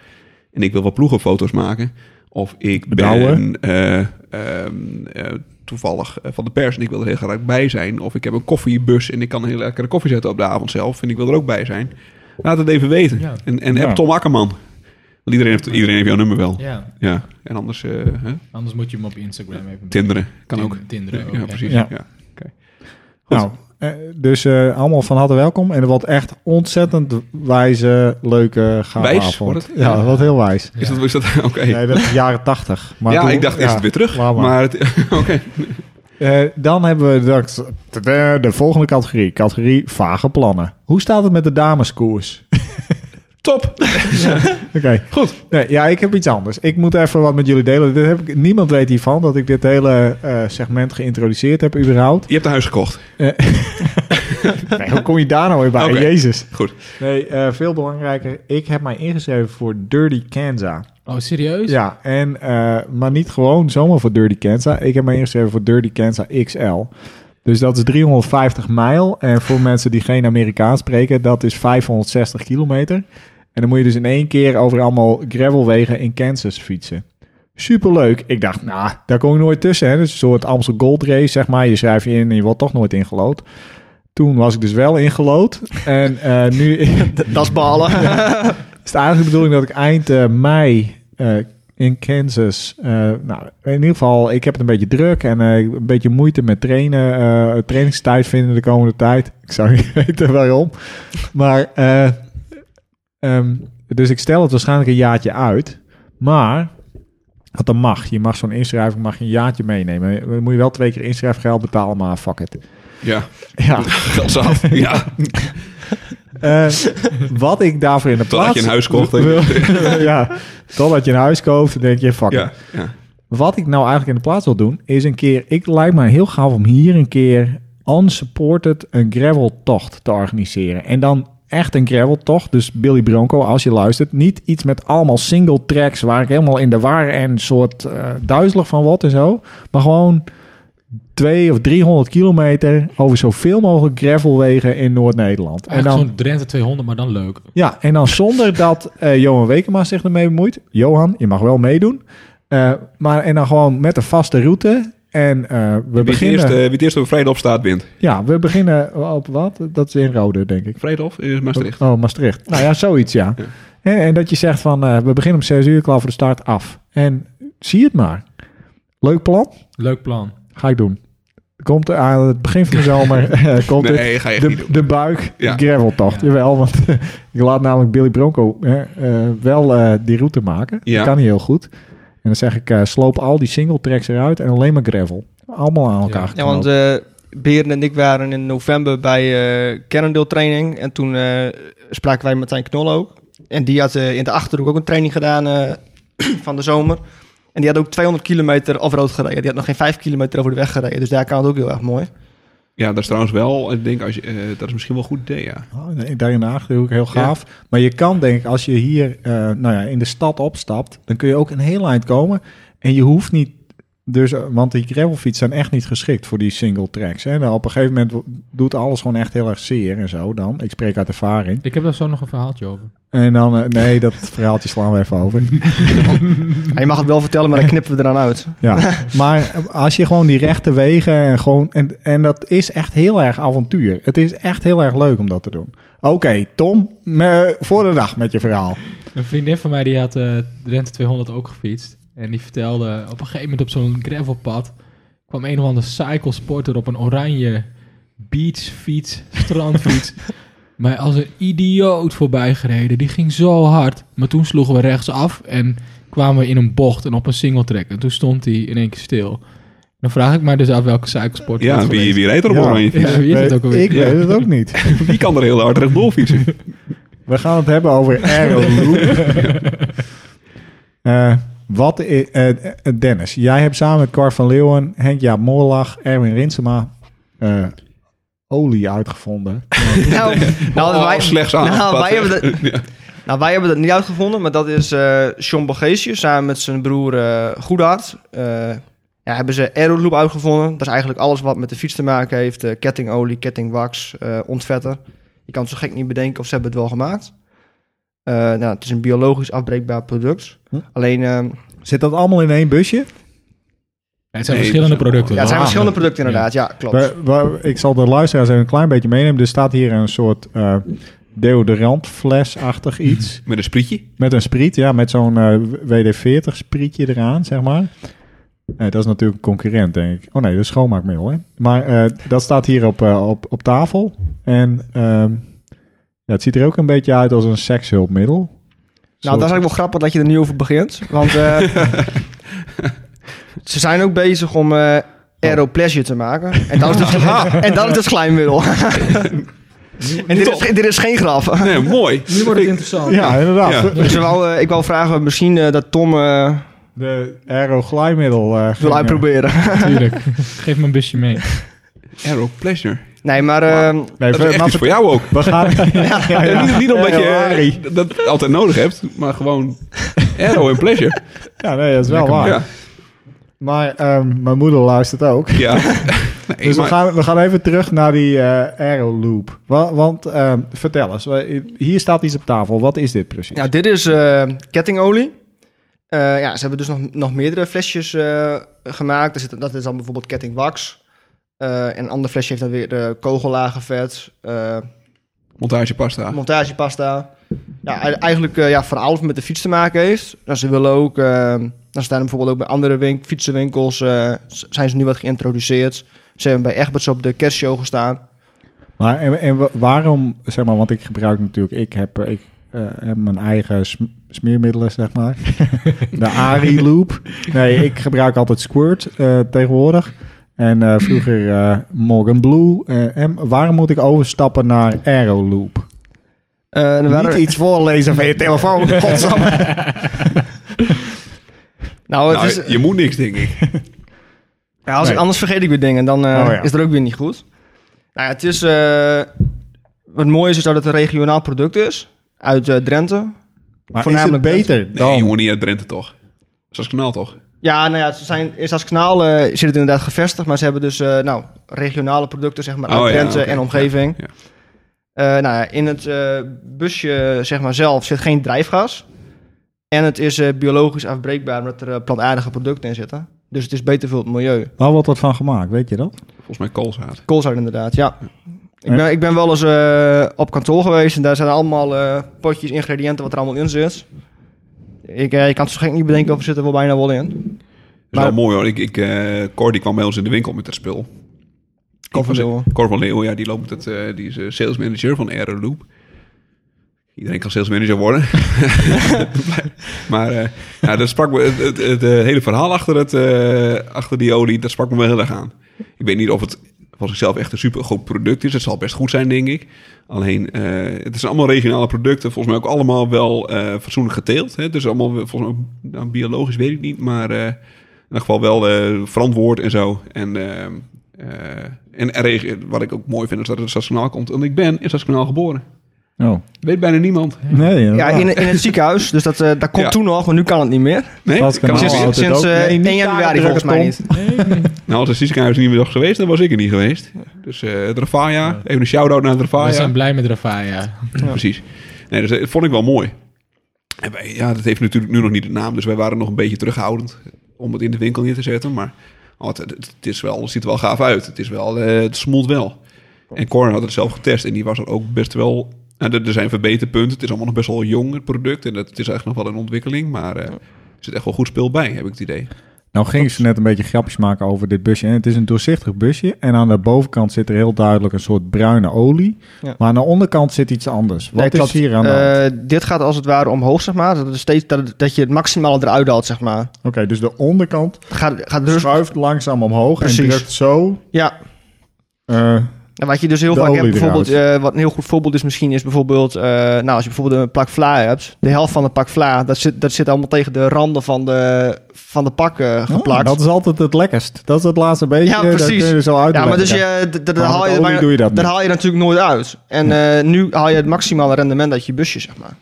En ik wil wat ploegenfoto's maken. Of ik
Bedouwen.
ben eh, ehm, eh, toevallig eh, van de pers en ik wil er heel graag bij zijn. Of ik heb een koffiebus en ik kan een heel lekkere koffie zetten op de avond zelf. En ik wil er ook bij zijn. Laat het even weten.
Ja.
En, en
Ja.
heb Tom Akkerman. Want iedereen heeft, iedereen heeft jouw nummer wel.
Ja,
Ja, en anders eh, hè?
anders moet je hem op Instagram even...
tinderen. Kan ook.
Tinderen ook,
Ja,
ja.
precies.
Ja.
Ja. Goed.
Nou, eh, dus eh, allemaal van harte welkom. En er wordt echt ontzettend wijze, leuke, gave
Wijs,
avond.
wordt het?
Ja,
Ja.
wat heel wijs.
Is dat, is dat oké?
Nee, dat is jaren tachtig.
ja, ik dacht eerst weer terug.
laat
Maar,
maar.
het- oké.
Eh, dan hebben we dat, tada, de volgende categorie. Categorie vage plannen. Hoe staat het met de dameskoers?
Top.
Oké. Goed. Nee, ja, ik heb iets anders. Ik moet even wat met jullie delen. Dit heb ik, niemand weet hiervan dat ik dit hele eh, segment geïntroduceerd heb überhaupt.
Je hebt een huis gekocht.
Nee, hoe kom je daar nou weer bij?
Oké.
Jezus.
Goed.
Nee, eh, veel belangrijker. Ik heb mij ingeschreven voor Dirty Kansas.
Oh, serieus?
Ja, en, eh, maar niet gewoon zomaar voor Dirty Kansas. Ik heb mij ingeschreven voor Dirty Kansas XL. Dus dat is 350 mijl. En voor mensen die geen Amerikaans spreken, dat is 560 kilometer. En dan moet je dus in één keer over allemaal gravelwegen in Kansas fietsen. Superleuk. Ik dacht, nou, daar kom ik nooit tussen. Hè. Dus een soort Amstel Gold Race, zeg maar. Je schrijft je in en je wordt toch nooit ingelood. Toen was ik dus wel ingelood. En eh, nu...
Dat is balen.
is het eigenlijk de bedoeling dat ik eind eh, mei eh, in Kansas. eh, nou, in ieder geval, ik heb het een beetje druk en eh, een beetje moeite met trainen. eh, trainingstijd vinden de komende tijd. Ik zou niet weten waarom. Maar, eh, ehm, dus ik stel het waarschijnlijk een jaartje uit. Maar. Wat dan mag. Je mag zo'n inschrijving mag je een jaartje meenemen. Dan moet je wel twee keer inschrijfgeld betalen, maar fuck it.
Ja,
Ja.
geld is af. Ja,
Eh, wat ik daarvoor in de plaats...
totdat je een huis kocht. denk ik.
wil- ja, totdat je een huis koopt, dan denk je, fuck it.
Ja, ja.
Wat ik nou eigenlijk in de plaats wil doen, is een keer... Ik lijkt mij heel gaaf om hier een keer unsupported een graveltocht te organiseren. En dan echt een graveltocht. Dus Billy Bronco, als je luistert. Niet iets met allemaal single tracks waar ik helemaal in de war en soort eh, duizelig van wat en zo. Maar gewoon twee of 300 kilometer over zoveel mogelijk gravelwegen in Noord-Nederland.
Echt zo'n Drenthe 200, maar dan leuk.
Ja, en dan zonder dat eh, Johan Wekema zich ermee bemoeit. Johan, je mag wel meedoen. Eh, maar en dan gewoon met een vaste route. En eh, we
Wie het eerst,
beginnen.
eh, wie het eerst op vrijdag staat, wint.
Ja, we beginnen op wat? Dat is in Rode, denk ik.
Vrijdag is Maastricht.
Oh, Maastricht. Nou ja, zoiets, ja.
Ja.
En, en dat je zegt van, eh, we beginnen om 6 uur, klaar voor de start, af. En zie het maar. Leuk plan?
Leuk plan.
Ga ik doen. Komt er aan het begin van de zomer. eh, komt het.
Nee, ga je echt niet
De,
doen.
de buik,
Ja.
graveltocht.
Ja.
Jawel, want ik laat namelijk Billy Bronco hè, eh, wel eh, die route maken.
Ja.
Dat kan hij heel goed. En dan zeg ik, eh, sloop al die single tracks eruit en alleen maar gravel. Allemaal aan elkaar
Ja,
geknoopt.
want eh, Beren en ik waren in november bij eh kerndeeltraining. En toen eh, spraken wij Martijn Knol ook. En die had eh, in de Achterhoek ook een training gedaan eh, van de zomer. En die had ook 200 kilometer offroad gereden. Die had nog geen 5 kilometer over de weg gereden. Dus daar kan het ook heel erg mooi.
Ja, dat is trouwens wel, ik denk, als je, eh, dat is misschien wel een goed idee, ja.
Oh, nee, Daar in de Achterhoek, heel gaaf. Maar je kan denk ik, als je hier eh, nou ja, in de stad opstapt, dan kun je ook een heel eind komen. En je hoeft niet, dus, eh, want die gravelfiets zijn echt niet geschikt voor die single tracks. Hè. Nou, op een gegeven moment wo- doet alles gewoon echt heel erg zeer en zo dan. Ik spreek uit ervaring.
Ik heb daar zo nog een verhaaltje over.
En dan, eh, nee, dat verhaaltje slaan we even over.
Ja, je mag het wel vertellen, maar dan knippen we eraan uit.
Ja, maar als je gewoon die rechte wegen en gewoon. En, en dat is echt heel erg avontuur. Het is echt heel erg leuk om dat te doen. Oké, Tom, me- voor de dag met je verhaal.
Een vriendin van mij die had eh Drenthe 200 ook gefietst. En die vertelde op een gegeven moment op zo'n gravelpad... kwam een of ander cyclesporter op een oranje beachfiets, strandfiets... maar als een idioot voorbij gereden. Die ging zo hard. Maar toen sloegen we rechtsaf en kwamen we in een bocht en op een singletrack. En toen stond hij in één keer stil. Dan vraag ik mij dus af welke cyclesporter
Ja,
dat
wie,
geweest
wie rijdt er op
Ja.
oranje?
is. Ja, wie is het ook alweer?
Eh, Ik
Ja.
weet het ook niet.
Wie kan er heel hard rechtdoor fietsen?
We gaan het hebben over Aeroloop. Eh wat i- eh, eh, Dennis, jij hebt samen met Cor van Leeuwen, Henk Jaap Moorlach, Erwin Rinsema eh, olie uitgevonden.
Nou, nou,
Oh,
wij,
slechts
nou,
aangepast.
wij hebben dat-
Ja.
nou, wij hebben dat niet uitgevonden, maar dat is eh John Borgesius samen met zijn broer eh Goedhart. Eh, ja, hebben ze Aeroloop uitgevonden. Dat is eigenlijk alles wat met de fiets te maken heeft. eh, kettingolie, kettingwax, eh, ontvetter. Je kan het zo gek niet bedenken of ze hebben het wel gemaakt. Eh, nou, het is een biologisch afbreekbaar product.
Hm.
Alleen, ehm,
Zit dat allemaal in één busje?
Ja, het zijn
Nee,
verschillende
dat is-
producten.
ja, het zijn
hoor.
verschillende producten inderdaad. Ja, klopt.
We- we- ik zal de luisteraars even een klein beetje meenemen. Er staat hier een soort eh deodorantflesachtig iets.
Met een sprietje?
Met een spriet, ja, met zo'n eh, WD-40 sprietje eraan, zeg maar. Eh, dat is natuurlijk een concurrent, denk ik. Oh nee, dat is schoonmaakmiddel, hè. Maar eh, dat staat hier op, eh, op, op tafel. En ehm, ja, het ziet er ook een beetje uit als een sekshulpmiddel.
Nou, dat is eigenlijk wel grappig dat je er nu over begint. Want eh, ze zijn ook bezig om eh aeropleasure te maken. En dat is dus, en dat is dus glijmiddel. en dit is, dit is geen grap.
Nee, mooi.
Nu wordt het interessant.
Ja, inderdaad.
Ja.
Dus ik wou, eh, ik wou vragen misschien eh, dat Tom eh,
De aeroglijmiddel. eh,
wil
ging, eh,
uitproberen.
Tuurlijk. Geef me een busje mee.
Ah,
Aero Pleasure.
Nee, maar eh,
Nee,
Dat is
we,
echt
maar
iets voor jou ook.
we gaan... ja, Ah, ja, ja.
Niet, niet omdat je
Aeroari.
eh, dat altijd nodig hebt, maar gewoon Aero en Pleasure.
Ah. Ja, nee, dat is wel waar.
Ja,
Maar ehm, mijn moeder luistert ook.
ja.
Dus we,
maar-
gaan, we gaan even terug naar die eh Aero Loop. Wa- want eh, vertel eens, wa- hier staat iets op tafel. Wat is dit precies?
Nou, dit is eh, kettingolie. Eh, ja, ze hebben dus nog, nog meerdere flesjes eh, gemaakt. Er zit, dat is dan bijvoorbeeld kettingwax. Eh, en een ander flesje heeft dan weer eh, kogellagervet, eh,
Oh,
Montagepasta.
montagepasta. Ja, e- eigenlijk eh, ja, voor alles wat met de fiets te maken heeft. Nou, ze willen ook, eh, dan staan er bijvoorbeeld ook bij andere wink- fietsenwinkels, eh, z- zijn ze nu wat geïntroduceerd. Ze hebben bij Egberts op de kerstshow gestaan.
Maar en, en wa- waarom, zeg maar, want ik gebruik natuurlijk, ik heb, eh, ik, eh, heb mijn eigen sm- smeermiddelen, zeg maar. De Ari Loop. Nee, ik gebruik altijd Squirt eh, tegenwoordig. En eh, vroeger eh Morgan Blue. Eh, en waarom moet ik overstappen naar Aero Loop?
Eh, en er waren-
Niet iets voorlezen van je telefoon, godsamme.
nou,
Nou,
het
eh,
is,
je moet niks, denk ik.
Ja, als ik,
Nee.
anders vergeet ik weer dingen. Dan eh,
Oh, ja.
is dat ook weer niet goed. Nou ja, het is... eh, wat mooi is, is dat het een regionaal product is. Uit eh, Drenthe.
Maar is het
Voornamelijk
beter
Nee,
dan...
je moet niet uit Drenthe, toch? Zoals kanaal, toch?
Ja, nou ja, ze zijn, is als kanaal eh, zit het inderdaad gevestigd. Maar ze hebben dus eh, nou, regionale producten, zeg maar, uit
Oh, ja,
Drenthe
oké.
en omgeving.
Ja,
Eh, nou ja, in het eh, busje, zeg maar, zelf zit geen drijfgas. En het is eh, biologisch afbreekbaar, omdat er eh, plantaardige producten in zitten. Dus het is beter voor het milieu.
Waar wordt dat van gemaakt, weet je dat?
Volgens mij koolzaad.
Koolzaad inderdaad, ja. Ik
Ja.
ben, ik ben wel eens eh, op kantoor geweest en daar zijn allemaal eh, potjes, ingrediënten, wat er allemaal in zit. Ik, eh, ik kan het zo gek niet bedenken of er zit er wel bijna wel in.
Dat is
Maar-
wel mooi, hoor. Ik, ik, eh, Cor, die kwam bij ons in de winkel met dat spul.
Cor van
Ik was-
Leeuwen.
Cor van Leeuwen, ja. Die, loopt het, eh, die is eh, sales manager van Aeroloop. Iedereen kan sales manager worden. maar eh, ja, dat sprak me, het, het, het, eh, hele verhaal achter, het, eh, achter die olie, dat sprak me wel heel erg aan. Ik weet niet of het van zichzelf echt een super goed product is. Het zal best goed zijn, denk ik. Alleen, eh, het zijn allemaal regionale producten. Volgens mij ook allemaal wel eh, fatsoenlijk geteeld. Hè? Dus allemaal, wel- volgens mij, nou, biologisch weet ik niet. Maar eh, in ieder geval wel eh, verantwoord en zo. En, eh, eh, en er reg- wat ik ook mooi vind, is dat het uit Stadskanaal komt. Want ik ben in Stadskanaal geboren.
Oh.
Weet bijna niemand.
Nee,
Ja, in, in het ziekenhuis, dus dat, eh dat komt
Ja.
toen nog, maar nu kan het niet meer.
Nee?
Stadskanaal.
Kan
Sinds,
het
houdt het
sinds
ook.
eh,
Nee, niet
1 januari
daar,
volgens mij
Tom.
niet.
Nou, als het ziekenhuis niet meer was geweest, dan was ik er niet geweest. Dus eh Drafaya, even een shout-out naar Drafaya.
We zijn blij met Ravaya.
Precies. Nee, dus dat vond ik wel mooi. En wij, ja, dat heeft natuurlijk nu nog niet de naam, dus wij waren nog een beetje terughoudend om het in de winkel neer te zetten. Maar oh, het, het- het is wel, het ziet er wel gaaf uit. Het, is wel, eh, het smolt wel. En Corner had het zelf getest en die was er ook best wel... nou, er er zijn verbeterpunten. Het is allemaal nog best wel jong, het product. En dat, het is echt nog wel in ontwikkeling, maar eh, er zit echt wel goed speel bij, heb ik het idee.
Nou ging ze net een beetje grapjes maken over dit busje. En het is een doorzichtig busje. En aan de bovenkant zit er heel duidelijk een soort bruine olie.
Ja.
Maar aan de onderkant zit iets anders. Wat
Nee,
is
klopt.
hier aan de hand?
Eh, dit gaat als het ware omhoog, zeg maar. Dat, het steeds, dat, dat je het maximale eruit haalt, zeg maar.
Oké, dus de onderkant
Het gaat, gaat dus,
schuift langzaam omhoog en
Precies.
drukt zo.
ja.
eh,
En wat je dus heel
De
vaak hebt,
olie
bijvoorbeeld, eh, wat een heel goed voorbeeld is misschien, is bijvoorbeeld, eh, nou, als je bijvoorbeeld een plak vla hebt, de helft van de plak vla, dat zit, dat zit allemaal tegen de randen van de, van de pak eh,
oh,
geplakt.
dat is altijd het lekkerst. Dat is het laatste beetje.
Ja,
dat
precies.
kun je zo uit.
ja, maar dus je, d- d- dat
Maar
haal
met
je,
olie
bijna-
doe je dat
dat
niet.
haal je natuurlijk nooit uit. En eh, nu haal je het maximale rendement uit je busje, zeg maar.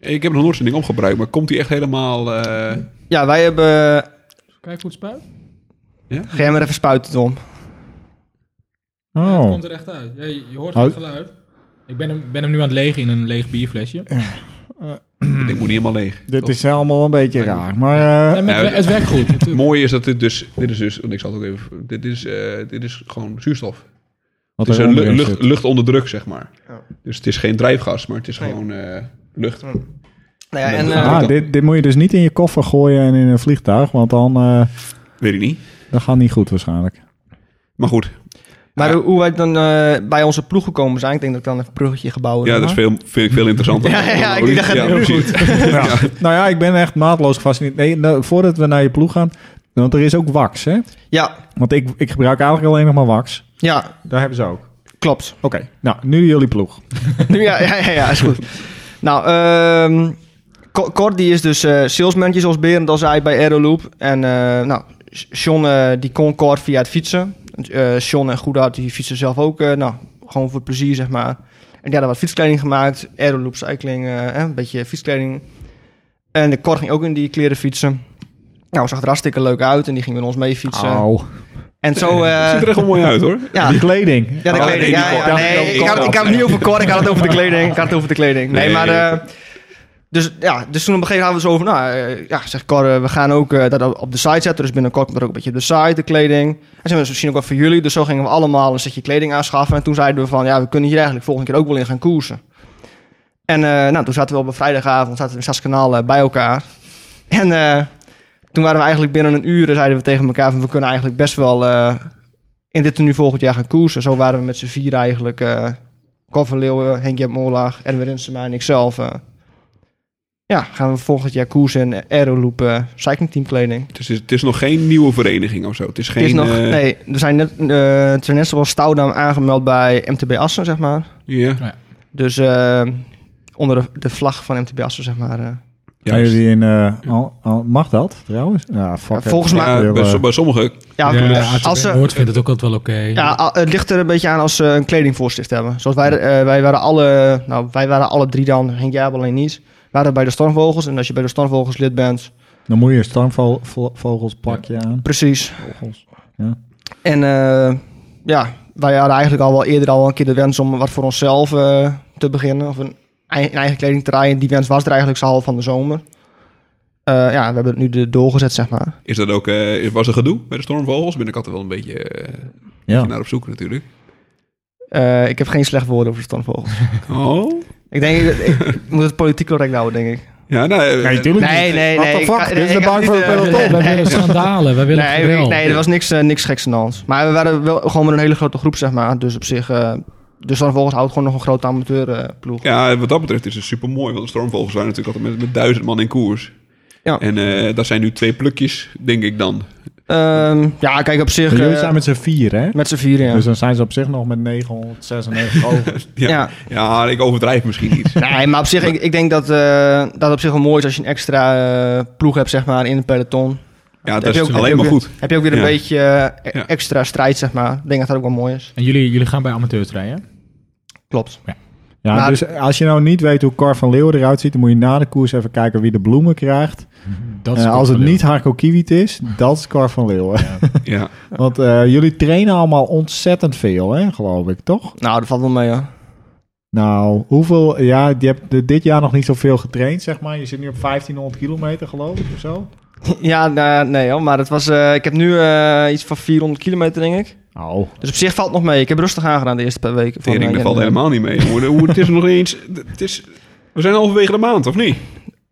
Ik heb nog nooit zo'n ding opgebruikt, maar komt die echt helemaal... eh,
Ja, wij hebben...
Kijk hoe het
Oh.
spuit.
Ga jij maar even spuiten, Tom.
Ja, het
Oh.
komt er echt uit. Ja, je, je hoort
Oh.
het geluid. Ik ben hem, ben hem nu aan het legen in een leeg bierflesje.
Ik denk, moet niet helemaal leeg.
Dit
Toch?
is allemaal een beetje raar. Maar eh,
Nee, maar
Nou,
het, wer- het werkt goed.
Het mooie is dat dit dus, dit is dus, want ik zal het ook even, dit is, eh, dit is gewoon zuurstof.
wat
Het is
er
een lu-
onderin
lucht,
zit.
lucht onder druk, zeg maar.
Ja.
Dus het is geen drijfgas, maar het is
Nee.
gewoon eh, lucht.
Nou ja, en,
Nee,
eh,
dat-
Ah, dit, dit moet je dus niet in je koffer gooien en in een vliegtuig. Want dan eh
Weet ik niet.
dat gaat niet goed waarschijnlijk.
Maar goed,
maar
ja.
hoe wij dan eh, bij onze ploeg gekomen zijn, ik denk dat ik dan even een bruggetje gebouwd
ja, dat is veel, vind ik veel interessanter.
Ja, ja, ja, ik
Ja,
dacht het heel
precies.
Ja. Nou ja, ik ben echt maatloos gefascineerd. Nee, nou, voordat we naar je ploeg gaan, want er is ook wax, hè?
Ja,
Want ik, ik gebruik eigenlijk alleen nog maar wax.
ja,
Daar hebben ze ook. Oké,
klopt.
nou, nu jullie ploeg.
Nu, ja, ja, ja, ja, is goed. nou, ehm Co- Cor die is dus eh salesmanager, zoals Berend al zei, bij Aeroloop. En eh, nou, John eh, die kon Cor via het fietsen. Eh John en Goedhart die fietsen zelf ook, eh, nou, gewoon voor plezier, zeg maar. En die hadden wat fietskleding gemaakt. Aeroloop Cycling, eh, hè, een beetje fietskleding. En de Cor ging ook in die kleren fietsen. Nou, zag er hartstikke leuk uit en die ging met ons mee fietsen.
Au.
En zo... eh,
Ziet er echt wel mooi uit hoor.
ja,
Die kleding.
ja, de
Oh,
kleding.
nee,
ja,
die
ja,
kort.
nee,
Dat- dat-
ik had, ik had het niet over kort, ik had het over de kleding. Ik had het over de kleding. Nee,
Nee.
maar... eh, dus, ja, dus toen op een gegeven moment hadden we zo over... Nou, eh, ja, zegt Cor, eh, we gaan ook eh, dat op de site zetten. Dus binnenkort komt er ook een beetje op de site, de kleding. En zeiden we, dat is misschien ook wel voor jullie. Dus zo gingen we allemaal een setje kleding aanschaffen. En toen zeiden we van, ja, we kunnen hier eigenlijk volgende keer ook wel in gaan koersen. En eh, nou, toen zaten we op een vrijdagavond, zaten we in Saskanaal eh, bij elkaar. En eh, toen waren we eigenlijk binnen een uur, eh, zeiden we tegen elkaar van we kunnen eigenlijk best wel eh, in dit tenue volgend jaar gaan koersen. Zo waren we met z'n vier eigenlijk, eh Cor van Leeuwen, Henk Jep Molaag, Erwin Rinsema en ikzelf. eh, ja, gaan we volgend jaar koersen in Aeroloop eh cycling team kleding.
Het is, het is nog geen nieuwe vereniging of zo. Het is geen...
Het is nog,
eh,
nee, er zijn net, eh, het zijn net zoals Stoudam aangemeld bij MTB Assen, zeg maar.
Ja,
Dus eh, onder de, de vlag van MTB Assen, zeg maar. eh.
Gaan
juist.
jullie in, eh, al- al- mag dat trouwens? Ja, fuck it.
volgens mij-
Ik
Ja,
wil,
bij,
eh,
so- bij sommige
Ja,
Ja,
als
als
ze,
Noord vindt het ook altijd wel oké.
ja, al- het ligt er een beetje aan als ze een kledingvoorschrift hebben. Zoals wij, eh, wij waren alle, nou, wij waren alle drie dan, Henk Jaap alleen niet, waren bij de Stormvogels. En als je bij de Stormvogels lid bent,
Dan moet je een stormvogelsplakje aan.
precies.
Vogels.
En eh, ja, wij hadden eigenlijk al wel eerder al een keer de wens om wat voor onszelf eh, te beginnen. Of een, ei- een eigen kleding te draaien. Die wens was er eigenlijk al van de zomer. Eh, ja, we hebben het nu de- doorgezet, zeg maar.
is dat ook... eh, was er gedoe bij de stormvogels? Ben ik altijd wel een beetje eh,
Ja.
naar op zoek natuurlijk.
Eh, ik heb geen slecht woord over de Stormvogels.
Oh.
ik denk, dat- ik, ik moet het politiek correct houden, denk ik.
Ja, nou... eh,
natuurlijk
Nee, nee,
What
nee.
the
ik
fuck?
ga-
Dit
nee,
is de
ik
bank
had
voor
niet,
het
eh,
peloton.
Wij willen
nee.
schandalen, wij willen
Nee,
geweld.
ik- nee, er was niks, eh, niks geks aan de hand. Maar we waren wel gewoon met een hele grote groep, zeg maar. Dus op zich... eh, dus dan volgens houdt gewoon nog een grote amateurploeg.
Ja, wat dat betreft is het super mooi. Want de stormvogels zijn natuurlijk altijd met, met duizend man in koers.
Ja.
En eh, dat zijn nu twee plukjes, denk ik dan.
Ja. Ehm, ja, kijk, op zich...
Maar Jullie
eh,
zijn met z'n vier, hè?
met z'n vieren, ja.
Dus dan zijn ze op zich nog met 996 over.
Ja, ja.
Ja.
ik overdrijf misschien iets.
Nee, maar op zich, ik, ik denk dat eh, dat op zich wel mooi is als je een extra eh, ploeg hebt, zeg maar, in het peloton.
Ja,
Heb
dat is
je ook- heb je
alleen
ook
maar
weer-
goed.
Heb je ook weer een
Ja.
beetje eh, e-
Ja.
extra strijd, zeg maar. Ik denk dat dat ook wel mooi is.
En jullie, jullie gaan bij amateurs rijden?
Klopt.
Ja,
Maar-
dus als je nou niet weet hoe Cor van Leeuwen eruit ziet... dan moet je na de koers even kijken wie de bloemen krijgt.
Dat
Eh,
ook
als het
wel
niet Harko Kiewit is, dat is Cor van Leeuwen.
Ja.
Want eh, jullie trainen allemaal ontzettend veel, hè, geloof ik, toch?
Nou, dat valt wel mee, ja.
Nou, hoeveel... Ja, je hebt eh, dit jaar nog niet zoveel getraind, zeg maar. Je zit nu op 1500 kilometer, geloof ik, of zo.
Ja, nou, nee hoor, maar het was, eh, ik heb nu eh, iets van 400 kilometer, denk ik.
Oh,
Dus op zich valt het nog mee. Ik heb rustig aangedaan de eerste paar weken. van,
Tering, dat
eh,
valt
januari.
helemaal niet mee. Hoe, hoe- het is nog eens... Het is, we zijn halverwege de maand, of niet?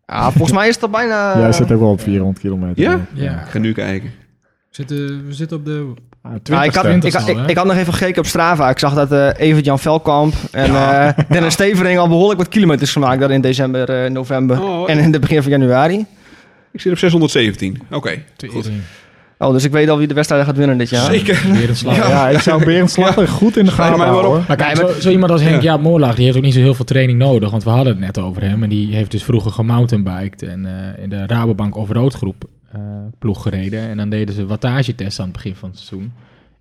Ja, volgens mij is dat bijna...
jij zit ook wel op 400 kilometer.
Ja?
denk ik.
Ja.
Ik ga nu kijken.
We zitten, we zitten op de...
Ah,
Ja, Nou, ik, had,
20ste.
ik,
twintigste al,
ik,
hè?
ik had nog even gekeken op Strava. Ik zag dat eh Evert Jan Velkamp en eh, Dennis Stevering al behoorlijk wat kilometers gemaakt daar in december, eh, november
Oh,
en in het begin van januari.
ik zit op 617. Oké, goed.
Tering.
Oh, dus ik weet al wie de wedstrijd gaat winnen dit jaar.
Zeker.
Weer een slag.
Ja, ik zou Berend Slachter goed in de gaten
mij maar
houden,
op.
hoor.
Maar kijk,
Nee, maar-
zo, zo iemand als Henk Jaap Moorlaag, die heeft ook niet zo heel veel training nodig. Want we hadden het net over hem. En die heeft dus vroeger gemountainbiked en eh, in de Rabobank Offroad groep eh, ploeg gereden. En dan deden ze wattagetests aan het begin van het seizoen.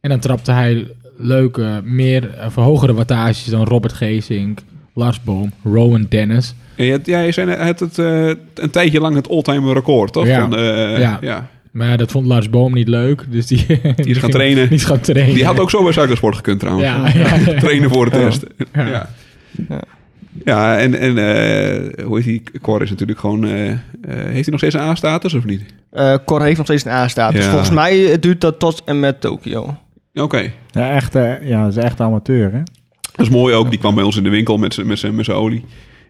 En dan trapte hij leuke, meer eh, verhogere wattages dan Robert Geesink, Lars Boom, Rowan Dennis.
En je hebt- ja, je zei net, het, het, eh, een tijdje lang het all-time record, toch?
Ja.
Van, eh,
Ja.
ja.
Maar ja, dat vond Lars Boom niet leuk. Dus die, die
gaan trainen.
Die is gaan trainen.
Die had ook zo bij Suikersport gekund trouwens.
Ja, ja, ja.
Trainen voor de
Ja.
test. Ja.
Ja.
Ja. en, en eh, hoe is die? Cor is natuurlijk gewoon... eh, eh, heeft hij nog steeds een A-status of niet?
Eh Cor heeft nog steeds een A-status.
Ja.
Volgens mij eh, duurt dat tot en met Tokio.
Oké.
Ja, echt, eh, ja, dat is echt amateur, hè?
Dat is mooi ook. Die kwam bij ons in de winkel met zijn met zijn- met zijn olie.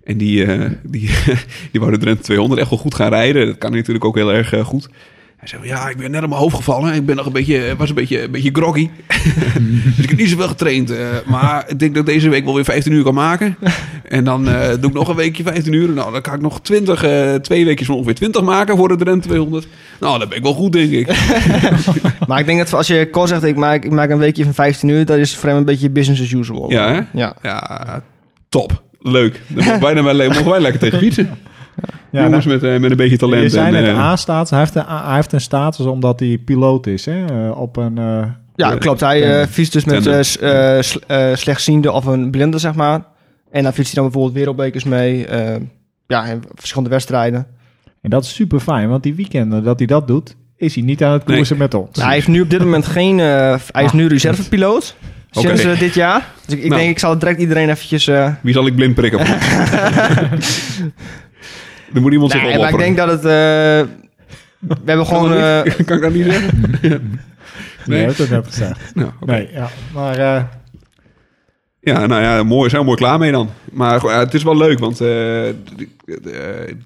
En die, eh, die, die wou de Drenthe 200 echt wel goed gaan rijden. Dat kan hij natuurlijk ook heel erg eh, goed. Hij zei, ja, ik ben net op mijn hoofd gevallen. Ik ben nog een beetje, eh, was een beetje, een beetje groggy. dus ik heb niet zoveel getraind. eh, maar ik denk dat ik deze week wel weer 15 uur kan maken. En dan eh, doe ik nog een weekje 15 uur. Nou, dan kan ik nog 20, eh, twee weekjes van ongeveer 20 maken voor de Drenthe 200. Nou, dat ben ik wel goed, denk ik.
Maar ik denk dat als je Cor zegt, ik maak, ik maak een weekje van 15 uur, dat is voor hem een beetje business as usual.
Ja, hè?
Ja.
Ja, top. Leuk. Dan mogen wij, dan wel- mogen wij lekker tegen fietsen.
Ja,
Jongens met, eh, met een beetje talent.
Je zei
en,
net
eh,
A-status. Hij heeft, een, hij heeft een status omdat hij piloot is, hè? Eh, Op een... eh,
Ja, klopt. Hij eh, fietst dus met
Tandem.
eh, s- eh, s- eh, slechtziende of een blinde, zeg maar. En dan fietst hij dan bijvoorbeeld wereldbekers mee. eh, ja, en verschillende wedstrijden.
En dat is super fijn, want die weekenden dat hij dat doet, is hij niet aan het koersen met ons.
Nou, hij heeft nu op dit moment geen... eh, hij is nu reservepiloot.
Oké.
Sinds eh, dit jaar. Dus ik, ik
Nou.
denk, ik zal direct iedereen eventjes... eh,
Wie zal ik blind prikken? er moet iemand zich
nee, maar ik
opofferen.
denk dat het... eh, we hebben gewoon... eh,
kan ik dat niet zeggen?
Nee,
Nee.
dat heb ik net gezegd.
Nou, oké.
Nee, ja. Maar eh,
Ja, nou ja, mooi. Zijn we mooi klaar mee dan. Maar goed, ja, het is wel leuk, want eh, d- d- eh,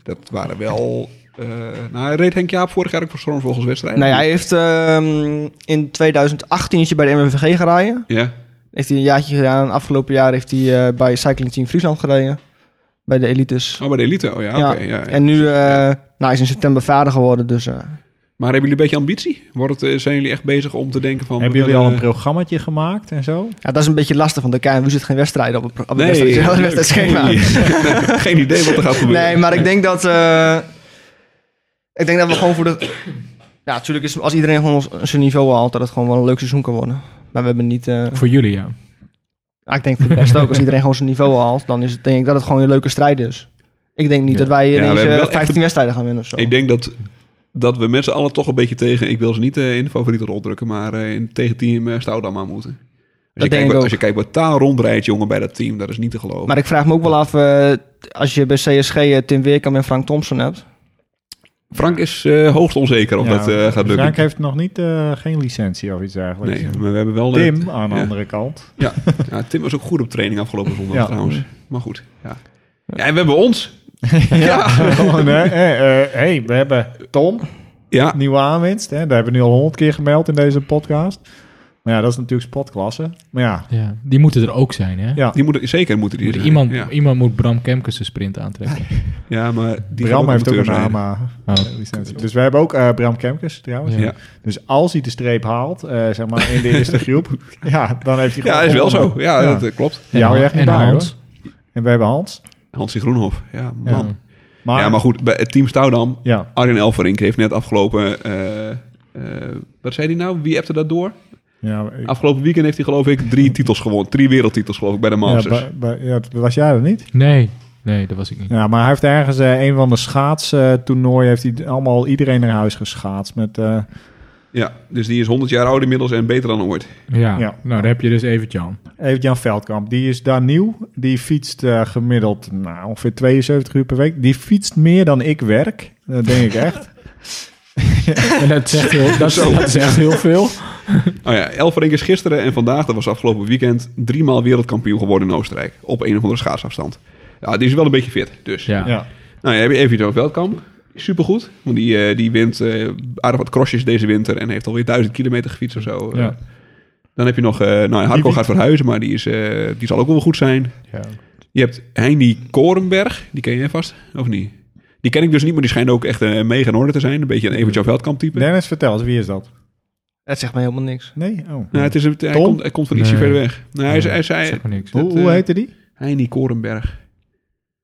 dat waren wel... eh nou, reed Henk Jaap vorig jaar ook voor Stormvogels wedstrijden?
nou ja, hij heeft ehm, in 2018 is hij bij de MMVG gaan rijden.
Ja,
Heeft hij een jaartje gedaan. Afgelopen jaar heeft hij eh, bij Cycling Team Friesland gereden. Bij de elites.
oh, bij de elite. Oh ja, oké. ja, ja.
En nu eh, nou, hij is in september vader geworden. Dus eh,
Maar hebben jullie een beetje ambitie? Wordt het, eh, zijn jullie echt bezig om te denken van...
hebben
we
jullie al een
willen-
programmaatje gemaakt en zo?
ja, dat is een beetje lastig. Want de KNW zit geen wedstrijden op het, pro- op het
Nee,
wedstrijd-
leuk.
wedstrijdschema.
Nee, geen idee wat er gaat gebeuren.
Nee, maar ik denk dat... eh, ik denk dat we gewoon voor de... Ja, natuurlijk is als iedereen gewoon ons- zijn niveau haalt... dat het gewoon wel een leuk seizoen kan worden. Maar we hebben niet... eh,
Voor jullie, ja.
Ja, ik denk voor de rest ook. Als iedereen gewoon zijn niveau haalt, dan is het, denk ik dat het gewoon een leuke strijd is. Ik denk niet
Ja.
dat wij
we
ineens
hebben
eh,
wel
15
echt-
wedstrijden gaan winnen of zo.
Ik denk dat, dat we met z'n allen toch een beetje tegen... Ik wil ze niet eh, in de favoriete rol drukken, maar eh, in, tegen team eh, Stoudam aan moeten. Als je,
denk
kijkt,
ik
wat-
ook.
als je kijkt wat taal rondrijdt, jongen, bij dat team, dat is niet te geloven.
Maar ik vraag me ook wel af, eh, als je bij CSG eh, Tim Weerkamp en Frank Thompson hebt.
Frank is eh, hoogst onzeker of
Ja,
dat eh, gaat lukken.
Frank heeft nog niet, eh, geen licentie of iets dergelijks.
Nee, maar we hebben wel... eh,
Tim aan de
ja.
andere kant.
Ja. ja, Tim was ook goed op training afgelopen zondag
Ja.
trouwens. Maar goed, ja. Ja, en we hebben ons.
Ja, gewoon, hè. Eh, eh, hey, we hebben Tom,
Ja,
nieuwe aanwinst. Hè. Daar hebben we nu al honderd keer gemeld in deze podcast. Maar ja, dat is natuurlijk spotklasse. Maar ja,
ja. Die moeten er ook zijn, hè?
Ja.
die moeten zeker moeten die
Moet
er zijn.
iemand,
Ja,
iemand moet Bram Kemkes de sprint aantrekken.
ja maar die
Bram
gaan
heeft ook een
amateur zijn.
naam aan.
Oh.
eh, licentie. Dus we hebben ook eh, Bram Kemkes trouwens.
Ja.
Ja.
Dus als hij de streep haalt, eh, zeg maar in de eerste groep, ja, dan heeft hij gewoon...
Ja, is wel zo.
gewonnen.
Ja,
Ja.
dat eh, klopt.
Die hou je echt niet
En
bij,
Hans.
hoor. En we hebben Hans.
Hansie Groenhof. Ja, man. Ja.
Maar,
maar goed, bij het team Stoudam.
Ja.
Arjen Elverink heeft net afgelopen... eh, eh, wat zei hij nou? Wie appte dat door?
Ja, ik-
Afgelopen weekend heeft hij geloof ik drie titels gewonnen. Drie wereldtitels geloof ik bij de
ja,
Masters.
bij- bij- ja, dat was jij dat niet?
Nee, nee, dat was ik niet.
Ja, maar hij heeft ergens eh, een van de schaatstoernooien... heeft hij allemaal iedereen naar huis geschaatst met... eh,
Ja, dus die is 100 jaar oud inmiddels en beter dan ooit.
Ja,
Ja.
nou daar heb je dus even Jan.
Even Jan Veldkamp, die is daar nieuw. Die fietst eh, gemiddeld nou, ongeveer 72 uur per week. Die fietst meer dan ik werk. Dat denk ik echt.
En dat zegt heel, dat, dat zegt heel veel.
Oh ja, Elverink is gisteren en vandaag, dat was afgelopen weekend, driemaal wereldkampioen geworden in Oostenrijk. Op een of andere schaatsafstand. Ja, die is wel een beetje fit, dus.
Ja.
Ja.
Nou ja, heb je even zo'n Veldkamp. Supergoed, want die, eh, die wint eh, aardig wat crossjes deze winter en heeft alweer duizend kilometer gefietst of zo.
Ja.
Dan heb je nog, eh nou ja, Harko
wint-
gaat verhuizen, maar die, is, eh, die zal ook wel goed zijn.
Ja.
Je hebt Heini Korenberg, die ken jij vast, of niet? Die ken ik dus niet, maar die schijnt ook echt een mega in orde te zijn. Een beetje een Evert-Jan Veldkamp type.
Dennis, vertel eens, wie is dat?
Dat zegt mij helemaal niks.
Nee? Oh.
Nou, het is, het- hij,
Tom?
komt, hij komt van ietsje
Nee.
verder weg. Nou, hij, is- hij, is- hij,
Zeg maar niks.
Hoe,
dat,
hoe
eh,
heette die?
Heini Korenberg.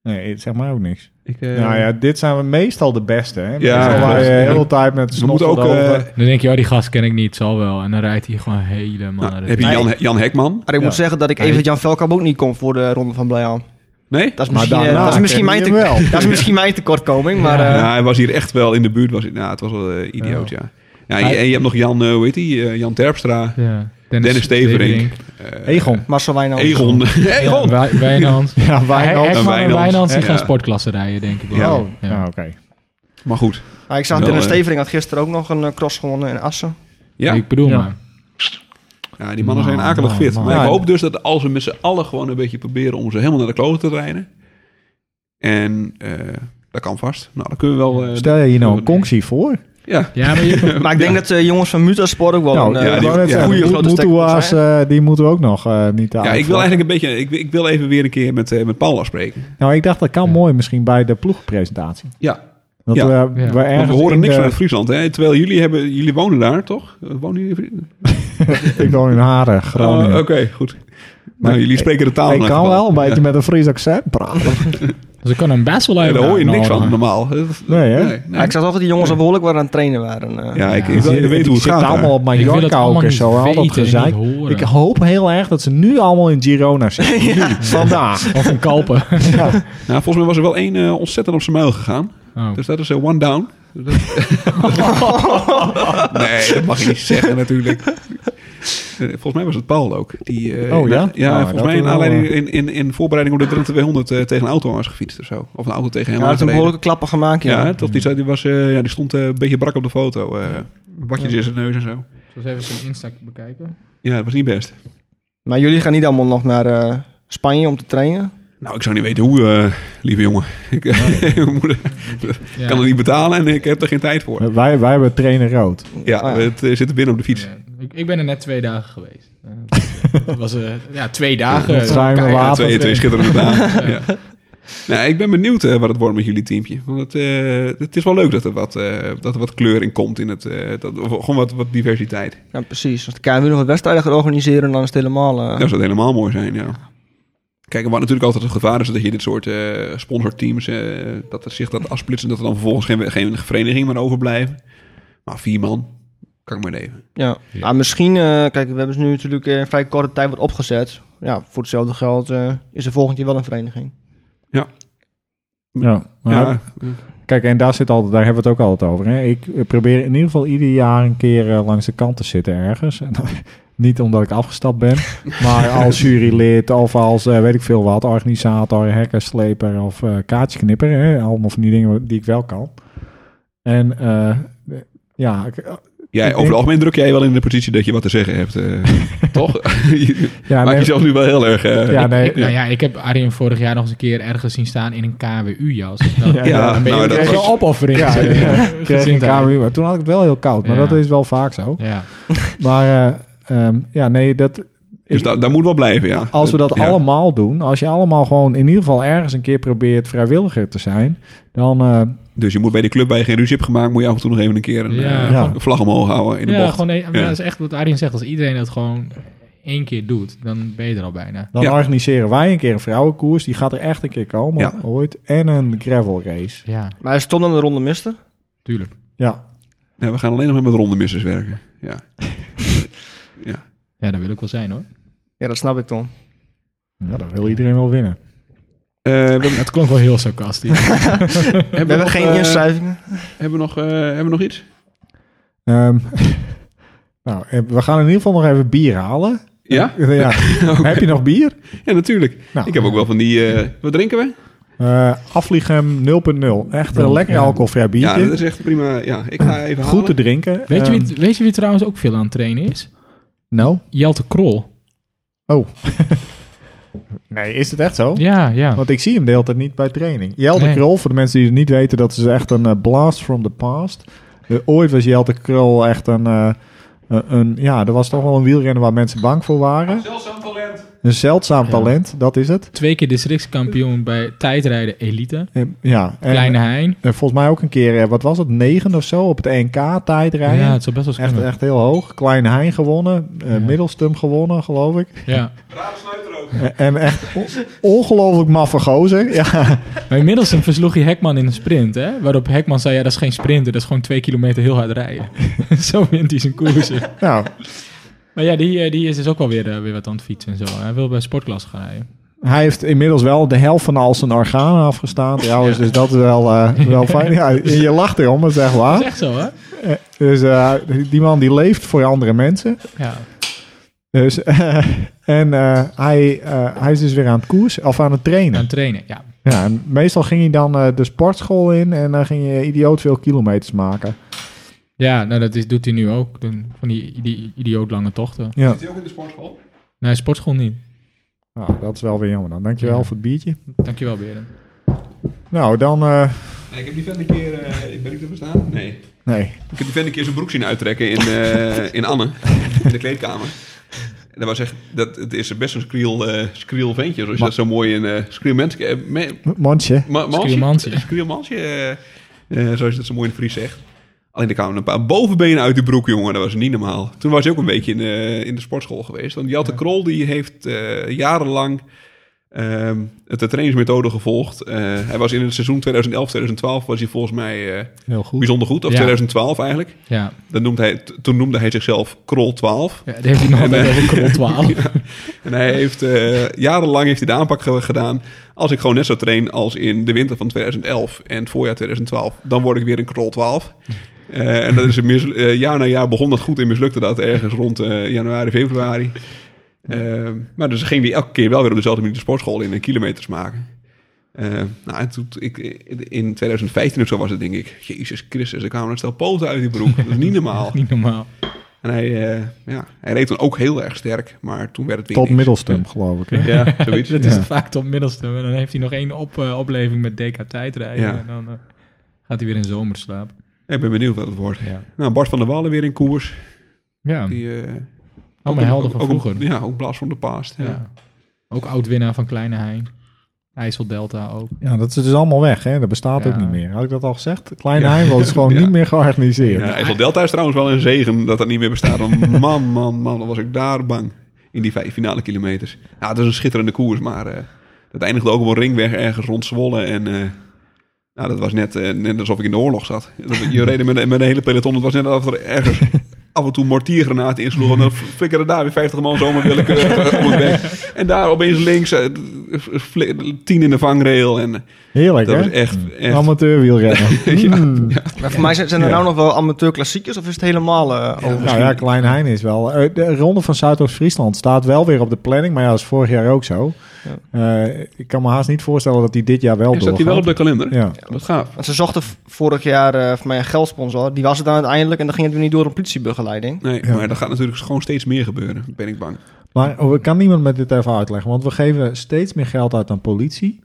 Nee, zeg maar ook niks.
Ik, eh,
nou ja, dit zijn we meestal de beste. Hè?
Ja,
Meestal
klopt.
waar je
Ja.
heel de tijd met
we moeten ook... eh,
over.
Dan denk je, oh, die gast ken ik niet, zal wel. En dan rijdt hij gewoon helemaal
nou,
naar de
heb je
top.
Jan, Jan Hekman?
Maar ik
Ja.
moet zeggen dat ik
Hij-
even Jan Velkamp ook niet kon voor de Ronde van Blijaan.
Nee?
Dat
Maar
is misschien, eh,
daarna
dat is misschien
ken
mijn
je hem
te-
wel.
dat is misschien mijn tekortkoming, maar... eh,
Ja, Nou, hij was hier echt wel in de buurt. Was, hij- nou, het was wel eh, idioot, ja. ja. en je- en je hebt nog Jan, eh, hoe heet die? Eh, Jan Terpstra.
Ja.
Dennis Steverink. eh,
Egon.
Marcel Wijnald.
Egon.
Ja,
Egon.
Wij- Wijnand.
Ja,
Wijnand.
Wijnald.
Hek-
Hekman en
Wijnand.
Wijnand die
Ja.
gaan sportklassen rijden, denk ik. wel.
Ja.
Ja.
Oh, nou, oké.
Maar goed.
Maar Ah, ik zag
Wel,
Dennis
eh.
Stevering had gisteren ook nog een eh, cross gewonnen in Assen.
Ja.
Ik bedoel
Ja.
maar.
ja, die mannen zijn
Man,
akelig
man,
fit.
man.
Maar ik
Ja.
hoop dus dat als we met z'n allen gewoon een beetje proberen om ze helemaal naar de kloten te rijden. En eh, dat kan vast. Nou, dan kunnen we wel... eh,
Stel je hier nou een conctie voor?
Ja.
Ja, maar je,
Maar ik denk dat de jongens van Mutasport ook wel
Nou,
een eh,
ja,
die-
die, net
ja.
zeggen,
goede
die
grote stek
Mutua's,
zijn.
eh, die moeten we ook nog eh, niet aan.
ja, ik wil eigenlijk een beetje... Ik, ik wil even weer een keer met, eh, met Paula spreken.
Nou, ik dacht dat kan mooi misschien bij de ploegpresentatie.
Ja.
Dat
Ja.
we,
Ja.
we
Want
ergens
Want we horen
in
niks
de-
vanuit Friesland, hè? Terwijl jullie, hebben, jullie wonen daar, toch? Eh, Wonen jullie in Friesland?
Ik woon in Haren, Groningen.
Oh, Oké, goed. nou, jullie spreken de taal. in
ik
elk
kan
geval.
wel een beetje
Ja.
met een Fries accent praten.
ze kan een best wel
Ja,
even
daar hoor je niks van
uitnodigen.
normaal. Dat-
Nee, hè?
Maar ik zag toch dat die jongens al behoorlijk waren aan het trainen waren. eh.
Ja, ik,
Ja.
ik, ik
Die
weet hoe het
zitten
gaat.
allemaal
daar.
op
Ik wil het
Mallorca ook
allemaal
en
niet
zo. Al dat
weten en
gezeik.
niet horen.
Ik hoop heel erg dat ze nu allemaal in Girona zitten. Nu, vandaag.
Of een kalpen.
Nou, volgens mij was er wel één eh, ontzettend op zijn muil gegaan.
Oh.
Dus dat is eh, one down. nee, dat mag je niet zeggen natuurlijk. Eh, Volgens mij was het Paul ook. Die, eh,
Oh, ja?
na- ja,
Nou,
volgens
dat
mij in,
wel,
aanleiding,
eh.
in, in, in voorbereiding op de Drenthe 200 eh, tegen een auto aan was gefietst of zo. Of een auto tegen hem
hij
aan
heeft een
gereden.
behoorlijke klappen gemaakt, ja.
Ja, hè, toch, die, zei- die, was, eh, ja, die stond eh, een beetje brak op de foto. eh bakjes in zijn neus en zo.
Zullen we even zijn Insta bekijken?
Ja, dat was niet best.
Maar jullie gaan niet allemaal nog naar eh, Spanje om te trainen?
Nou, ik zou niet weten hoe, eh, lieve jongen. Ik mijn moeder
Ja.
kan het niet betalen en ik heb er geen tijd voor.
Wij, wij hebben trainer rood.
Ja,
Ah, ja.
het eh, zit er binnen op de fiets.
Ja, ik, ik ben er net twee dagen geweest. Eh, dat was, eh, ja, twee dagen.
Het ruime
Keihard.
water.
twee, twee schitterende dagen. ja. Nou, ik ben benieuwd eh, wat het wordt met jullie teampje. Want het, eh, het is wel leuk dat er wat, eh, dat er wat kleur in komt. In het, eh, dat, of gewoon wat, wat diversiteit.
Ja, precies. Als de KNW nog wat wedstrijden gaat organiseren, dan is het helemaal... eh,
Dat zou het helemaal mooi zijn, ja. Kijk, en wat natuurlijk altijd het gevaar is dat je dit soort eh, sponsorteams, eh, dat er zich dat afsplitsen, dat er dan vervolgens geen, geen vereniging meer overblijven. Maar vier man, kan ik maar leven.
Ja, maar misschien, eh, kijk, we hebben ze nu natuurlijk eh, in vrij korte tijd wat opgezet. Ja, voor hetzelfde geld eh, is er volgend jaar wel een vereniging.
Ja, maar
Ja,
Kijk, en daar, zit altijd, daar hebben we het ook altijd over. Hè? Ik eh, probeer in ieder geval ieder jaar een keer eh, langs de kant te zitten ergens. En dan- niet omdat ik afgestapt ben, maar als jurylid of als, eh, weet ik veel wat, organisator, hekkersleper of eh kaartsknipper. Hè? Allemaal van die dingen die ik wel kan. En eh, ja, ik-
jij, over het algemeen druk jij wel in de positie dat je wat te zeggen hebt. eh, toch? je
ja,
maakt
nee,
jezelf nu wel heel erg... eh,
ja, nee,
Ik- nou ja, ik heb Arjen vorig jaar nog eens een keer ergens zien staan in een KWU-jas. Dan,
Ja,
ja,
dan ben je
nou,
ook
dat
echt
was-
wel opoffering.
Ja,
eh,
ik kreeg een
gezien daar.
KMU, maar toen had ik het wel heel koud. Maar
Ja.
dat is wel vaak zo.
Ja.
Maar eh, ehm, ja, nee, dat,
Dus daar, daar moet wel blijven, ja.
Als we dat
Ja.
allemaal doen, als je allemaal gewoon in ieder geval ergens een keer probeert vrijwilliger te zijn, dan eh,
Dus je moet bij de club waar je geen ruzie hebt gemaakt, moet je af en toe nog even een keer een
Ja.
eh,
Ja.
een vlag omhoog houden in de
ja,
bocht.
gewoon een- maar
Ja.
dat is echt wat Arjen zegt. Als iedereen dat gewoon één keer doet, dan ben je er al bijna.
dan
Ja.
organiseren wij een keer een vrouwenkoers. Die gaat er echt een keer komen,
Ja.
ooit. En een gravel race.
Ja,
Maar er stond aan de ronde mister.
tuurlijk.
Ja,
Ja, we gaan alleen nog maar met rondemissers werken. Ja. Eh, ja.
Ja, dat wil ik wel zijn hoor.
Ja, dat snap ik dan.
ja dan wil iedereen wel winnen.
Eh, we hebben-
Dat klonk wel heel sarcastisch.
We hebben
nog,
geen
eh,
inschrijvingen.
Hebben we nog, eh, hebben we nog iets?
Ehm, nou, eh, we gaan in ieder geval nog even bier halen.
Ja?
Ja. Heb je nog bier?
Ja, natuurlijk.
Nou.
Ik heb ook wel van die... eh, wat drinken we?
Eh Afliegem 0.0. Echt een lekker alcoholvrij
Ja,
biertje.
dat is echt prima. Ja, ik ga even
Goed te
halen.
drinken.
weet, je
Ehm,
wie, weet je wie trouwens ook veel aan het trainen is?
Nou?
Jelte Krol.
Nee, is het echt zo?
Ja, ja.
Want ik zie hem de hele tijd niet bij training. Jelte
Nee.
Krol, voor de mensen die het niet weten, dat is echt een eh, blast from the past. Eh, ooit was Jelte Krol echt een, eh, een, een- Ja, er was toch wel een wielrenner waar mensen bang voor waren.
Zeldzaam talent.
Een zeldzaam
Ja.
talent, dat is het.
Twee keer districtskampioen bij tijdrijden elite.
En, ja, en,
Kleine Hein.
eh, volgens mij ook een keer, eh, wat was het, negen of zo op het NK tijdrijden.
Ja, het zou best wel eens
echt,
kunnen.
echt heel hoog. Klein Hein gewonnen, eh,
Ja.
Middelstum gewonnen, geloof ik.
Ja.
Eh, En echt o- ongelooflijk maffe gozer. Ja,
Maar inmiddels versloeg hij Hekman in een sprint, hè? Waarop Hekman zei, ja, dat is geen sprinten, dat is gewoon twee kilometer heel hard rijden. Zo wint hij zijn koersen.
nou,
Maar ja, die, eh, die is dus ook wel weer, eh, weer wat aan het fietsen en zo. Hij wil bij sportklas gaan rijden.
Hij heeft inmiddels wel de helft van al zijn organen afgestaan. Trouwens, dus dat is wel, eh, wel fijn. Ja, je lacht erom, dat is echt
Dat
waar.
is echt zo, hè?
Dus eh, die man die leeft voor andere mensen.
Ja.
Dus, eh, en eh, hij, eh, hij is dus weer aan het koers, of aan het
Aan
trainen.
het trainen, ja.
Ja, en meestal ging hij dan eh, de sportschool in en dan ging je idioot veel kilometers maken.
Ja, nou, dat is, doet hij nu ook. doen- Van die, die idioot lange tochten.
Ja,
Zit hij ook in de sportschool?
Nee, sportschool niet.
nou, dat is wel weer jammer dan. Dankjewel voor het biertje.
Dankjewel, Beren.
Nou, dan... eh,
Nee, ik heb die vent een keer... eh, ben ik te verstaan? Nee.
nee.
Ik heb die vent een keer zijn broek zien uittrekken in, eh, in Anne, in de kleedkamer. En dat was echt, dat, het is best een skriel, eh skriel ventje, zoals je
Ma-
dat zo mooi in eh skriel mensen... eh, me-
Mondje.
ma- mansje?
Skrielmansje.
Skrielmansje, eh, eh, zoals je dat zo mooi in het Fries zegt. Alleen er kwamen een paar bovenbenen uit die broek, jongen. Dat was niet normaal. Toen was hij ook een beetje in, eh, in de sportschool geweest. Want Jatte Krol die heeft eh, jarenlang Ehm, het de trainingsmethode gevolgd. Eh, hij was in het seizoen 2011-2012 was hij volgens mij eh,
Heel goed.
bijzonder goed. Of
Ja.
2012 eigenlijk.
Ja.
Dan noemde hij, t- toen noemde hij zichzelf Krol 12.
ja, daar heeft hij nog altijd over krol 12.
En hij heeft eh, jarenlang heeft hij de aanpak ge- gedaan. Als ik gewoon net zo train als in de winter van 2011 en het voorjaar 2012, dan word ik weer een krol 12. Eh, en dat is een mis, eh, jaar na jaar begon dat goed en mislukte dat ergens rond eh, januari, februari. Ehm, maar dus ging hij elke keer wel weer op dezelfde manier de sportschool in en kilometers maken. Eh, nou, en toen, ik, in 2015 of zo was het, denk ik. Jezus Christus, er kwamen een stel poten uit die broek. Dat is niet normaal.
Niet normaal.
En hij, eh, ja, hij reed toen ook heel erg sterk, maar toen werd het weer
Tot
niks.
middelstem, geloof ik. hè?
Ja, zoiets.
Dat is
Ja.
vaak tot middelste. En dan heeft hij nog één op, eh, opleving met DK tijdrijden.
Ja.
En dan eh, gaat hij weer in zomerslaap.
Ik ben benieuwd wat het wordt.
Ja.
Nou, Bart van der Wallen weer in koers.
Ja.
Die, eh,
Allemaal
ook-
helden van
ook-
vroeger.
Ja, ook Blas van de Paast. Ja.
Ja. Ook oud-winnaar van Kleine Hein. IJsseldelta ook.
Ja, dat is dus allemaal weg, hè? Dat bestaat
Ja.
ook niet meer. Had ik dat al gezegd? Kleine
Ja.
ja. is gewoon
Ja.
niet meer georganiseerd.
Ja, IJssel Delta is trouwens wel een zegen dat dat niet meer bestaat. Want man, man, man, dan was ik daar bang in die vijf finale kilometers. Ja, het is een schitterende koers, maar eh dat eindigde ook op een ringweg ergens rond Zwolle. En eh, nou, dat was net, eh, net alsof ik in de oorlog zat. Dat- Je reed met, een- met een hele peloton, het was net alsof er ergens af en toe mortiergranaten insloegen. En dan flikkerden daar weer 50 man zomaar willekeurig op het weg. En daar opeens links, eh, fli- tien in de vangrail. En
Heerlijk,
dat
hè? Mm.
was echt, echt
Amateurwielrennen. Mm. ja,
Maar voor mij zijn, zijn er nou nog wel amateur klassiekers of is het helemaal eh, over?
Nou ja, Klein Hein is wel. eh, De ronde van Zuidoost-Friesland staat wel weer op de planning, maar ja, dat is vorig jaar ook zo. Eh, ik kan me haast niet voorstellen dat die dit jaar wel
en zat hij wel op de
doorgaat.
kalender.
Ja.
Wat gaaf.
Want ze zochten v- vorig jaar eh voor mij een geldsponsor. Die was het dan uiteindelijk en dan ging het weer niet door een politiebegeleiding.
Nee,
Ja.
maar dat gaat natuurlijk dus gewoon steeds meer gebeuren, ben ik bang.
Maar oh, kan niemand met dit even uitleggen? Want we geven steeds meer geld uit aan politie.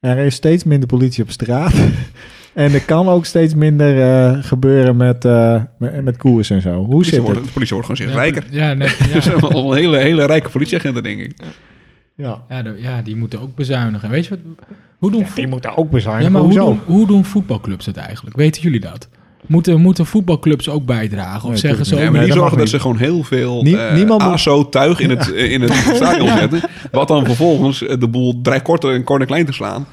Er is steeds minder politie op straat. en er kan ook steeds minder eh, gebeuren met, eh, met, met koers en zo. Hoe
Politie
zit het?
wordt, de politie wordt gewoon steeds rijker.
Ja, nee, ja.
Er zijn allemaal hele, hele rijke politieagenten, denk ik.
Ja.
Ja, de- ja, die moeten ook bezuinigen. Weet je wat? Hoe doen, voet-
Die moet daar ook bezuinigen.
ja, maar hoe
Hoezo?
doen, hoe doen voetbalclubs het eigenlijk? Weten jullie dat? Moeten, moeten voetbalclubs ook bijdragen? Of
Nee,
zeggen ze
tuurlijk
ook...
Ja, maar
nee,
die
dat
zorgen
mag
dat
niet.
ze gewoon heel veel
Nie-
eh,
niemand moet-
ASO-tuig in het, eh, in het stadion zetten. Wat dan vervolgens eh, de boel draai kort en kort en klein te slaan.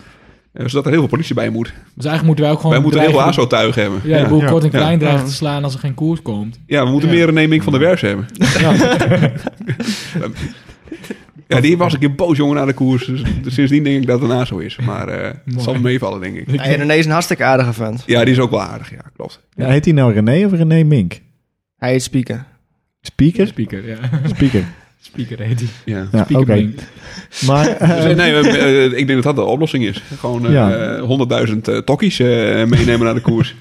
eh, Zodat er heel veel politie bij moet.
Dus eigenlijk moeten wij ook gewoon...
Wij moeten heel veel
dreigen-
ASO-tuig hebben.
Ja, de boel
Oh, Ja.
kort en
Ja.
klein dreigen te slaan als er geen koers komt.
Ja, we moeten meer een Neming van de Werf hebben. Ja, die was een keer boos, jongen, na de koers. Dus sindsdien denk ik dat het een ASO is. Maar eh het zal me meevallen, denk ik.
Ja, René is een hartstikke aardige vent.
Ja, die is ook wel aardig. Ja, klopt.
Ja, heet hij nou René of René Mink?
Hij heet Spieken.
Speaker?
Speaker, ja.
Speaker.
Speaker heet die.
Ja.
Ja, oké.
Speaker ding.
Maar eh,
Dus, nee, we- eh, ik denk dat dat de oplossing is. Gewoon eh,
Ja.
100.000 eh, tokkies eh, meenemen naar de koers.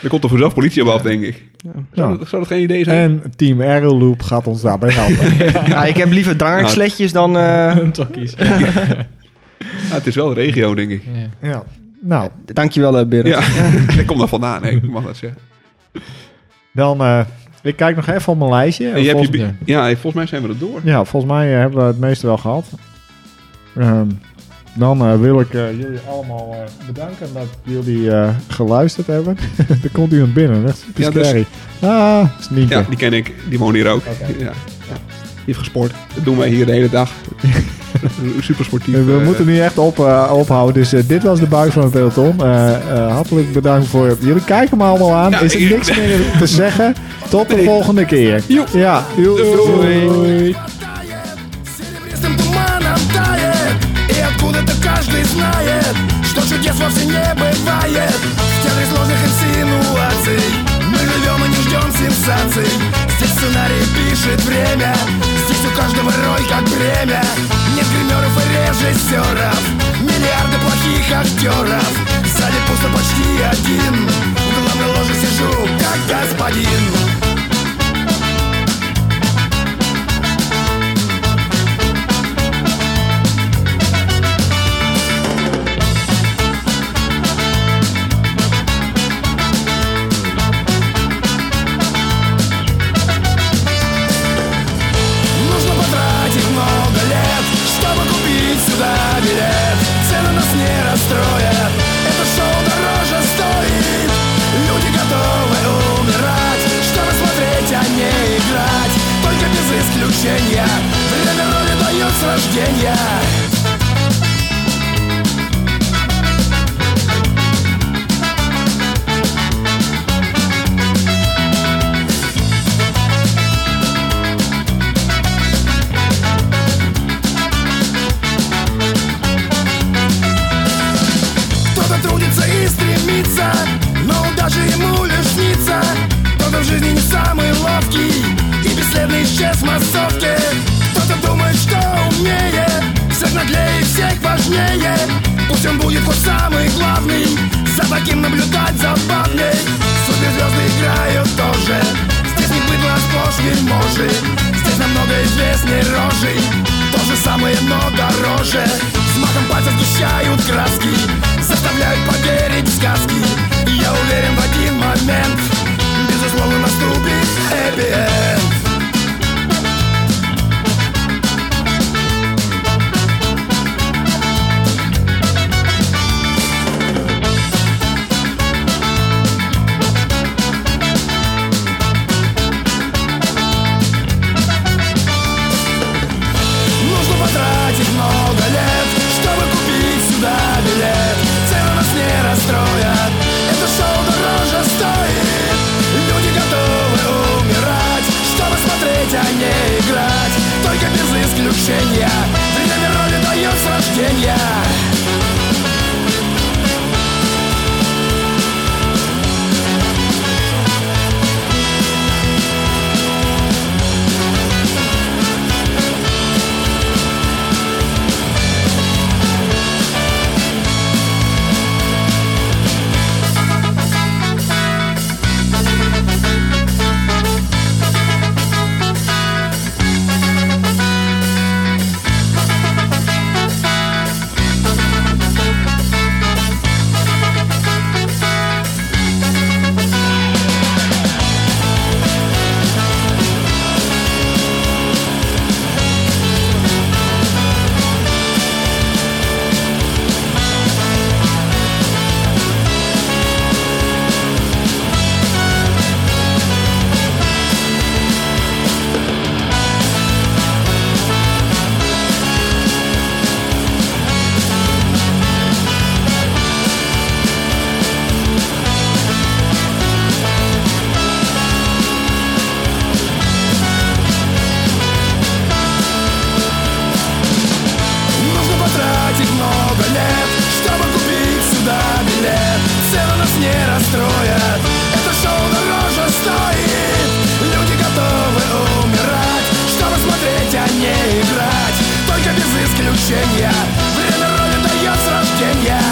Dan komt er vanzelf politie op af, denk ik. Zou,
Ja.
dat, zou dat geen idee zijn?
en Team Arrow Loop gaat ons daarbij helpen.
Ja, Nou, ik heb liever dranksletjes dan... eh,
Tokkies.
Ah, het is wel de regio, denk ik.
Ja.
ja. Nou,
dankjewel, eh, Berend.
Ja, ik kom daar vandaan. Nee, ik mag dat zeggen.
dan... eh, ik kijk nog even op mijn lijstje.
En je hebt je
Volgens-
bi- ja, volgens mij zijn we er door.
Ja, volgens mij eh, hebben we het meeste wel gehad. Ehm, dan eh, wil ik eh, jullie allemaal eh, bedanken dat jullie eh, geluisterd hebben. er komt iemand binnen, echt
Ja, dus-
scary. Ah, sneaker.
Ja, die ken ik. Die woont hier ook. Ja. Ja. Die heeft gesport. Dat doen wij hier de hele dag. Super sportief.
we moeten nu echt op, eh, ophouden. Dus eh, dit was de buik van het peloton. Eh, eh, hartelijk bedankt voor jullie kijken me allemaal aan.
Ja,
Is er
ik-
niks meer te zeggen? Tot de volgende keer.
Joep.
Ja, joep.
Doei.
doei.
Тает, Серебристым туманом тает И откуда-то каждый знает Что чудес вовсе не бывает В театре сложных инсинуаций Мы живем и не ждем сенсаций Здесь сценарий пишет время Здесь у каждого роль как бремя Нет гримеров и режиссеров Миллиарды плохих актеров Сзади пусто почти один В главной ложе сижу как господин Нужно потратить много лет, чтобы купить сюда билет Цены нас не расстроят, это шоу дороже стоит Люди готовы умирать, чтобы смотреть, а не играть Только без исключения, время роли дает с рождения массовке Кто-то думает, что умнее Всех наглее, всех важнее Пусть он будет хоть самый главный За таким наблюдать забавней Суперзвезды играют тоже Здесь не быдло, а сплошь вельможи Здесь намного известней рожей То же самое, но дороже С махом пальца сгущают краски Заставляют поверить в сказки И я уверен в один момент Безусловно наступит happy end. Нужно потратить много лет, чтобы купить сюда билет. Цены нас не расстроят, это шоу дороже стоит. Люди готовы умирать, чтобы смотреть, а не играть. Только без исключения, время роли дает с рождения. Нужно потратить много лет, чтобы купить сюда билет. Цены нас не расстроят, это шоу дороже стоит. Люди готовы умирать, чтобы смотреть, а не играть. Только без исключения, время роли дает с рождения.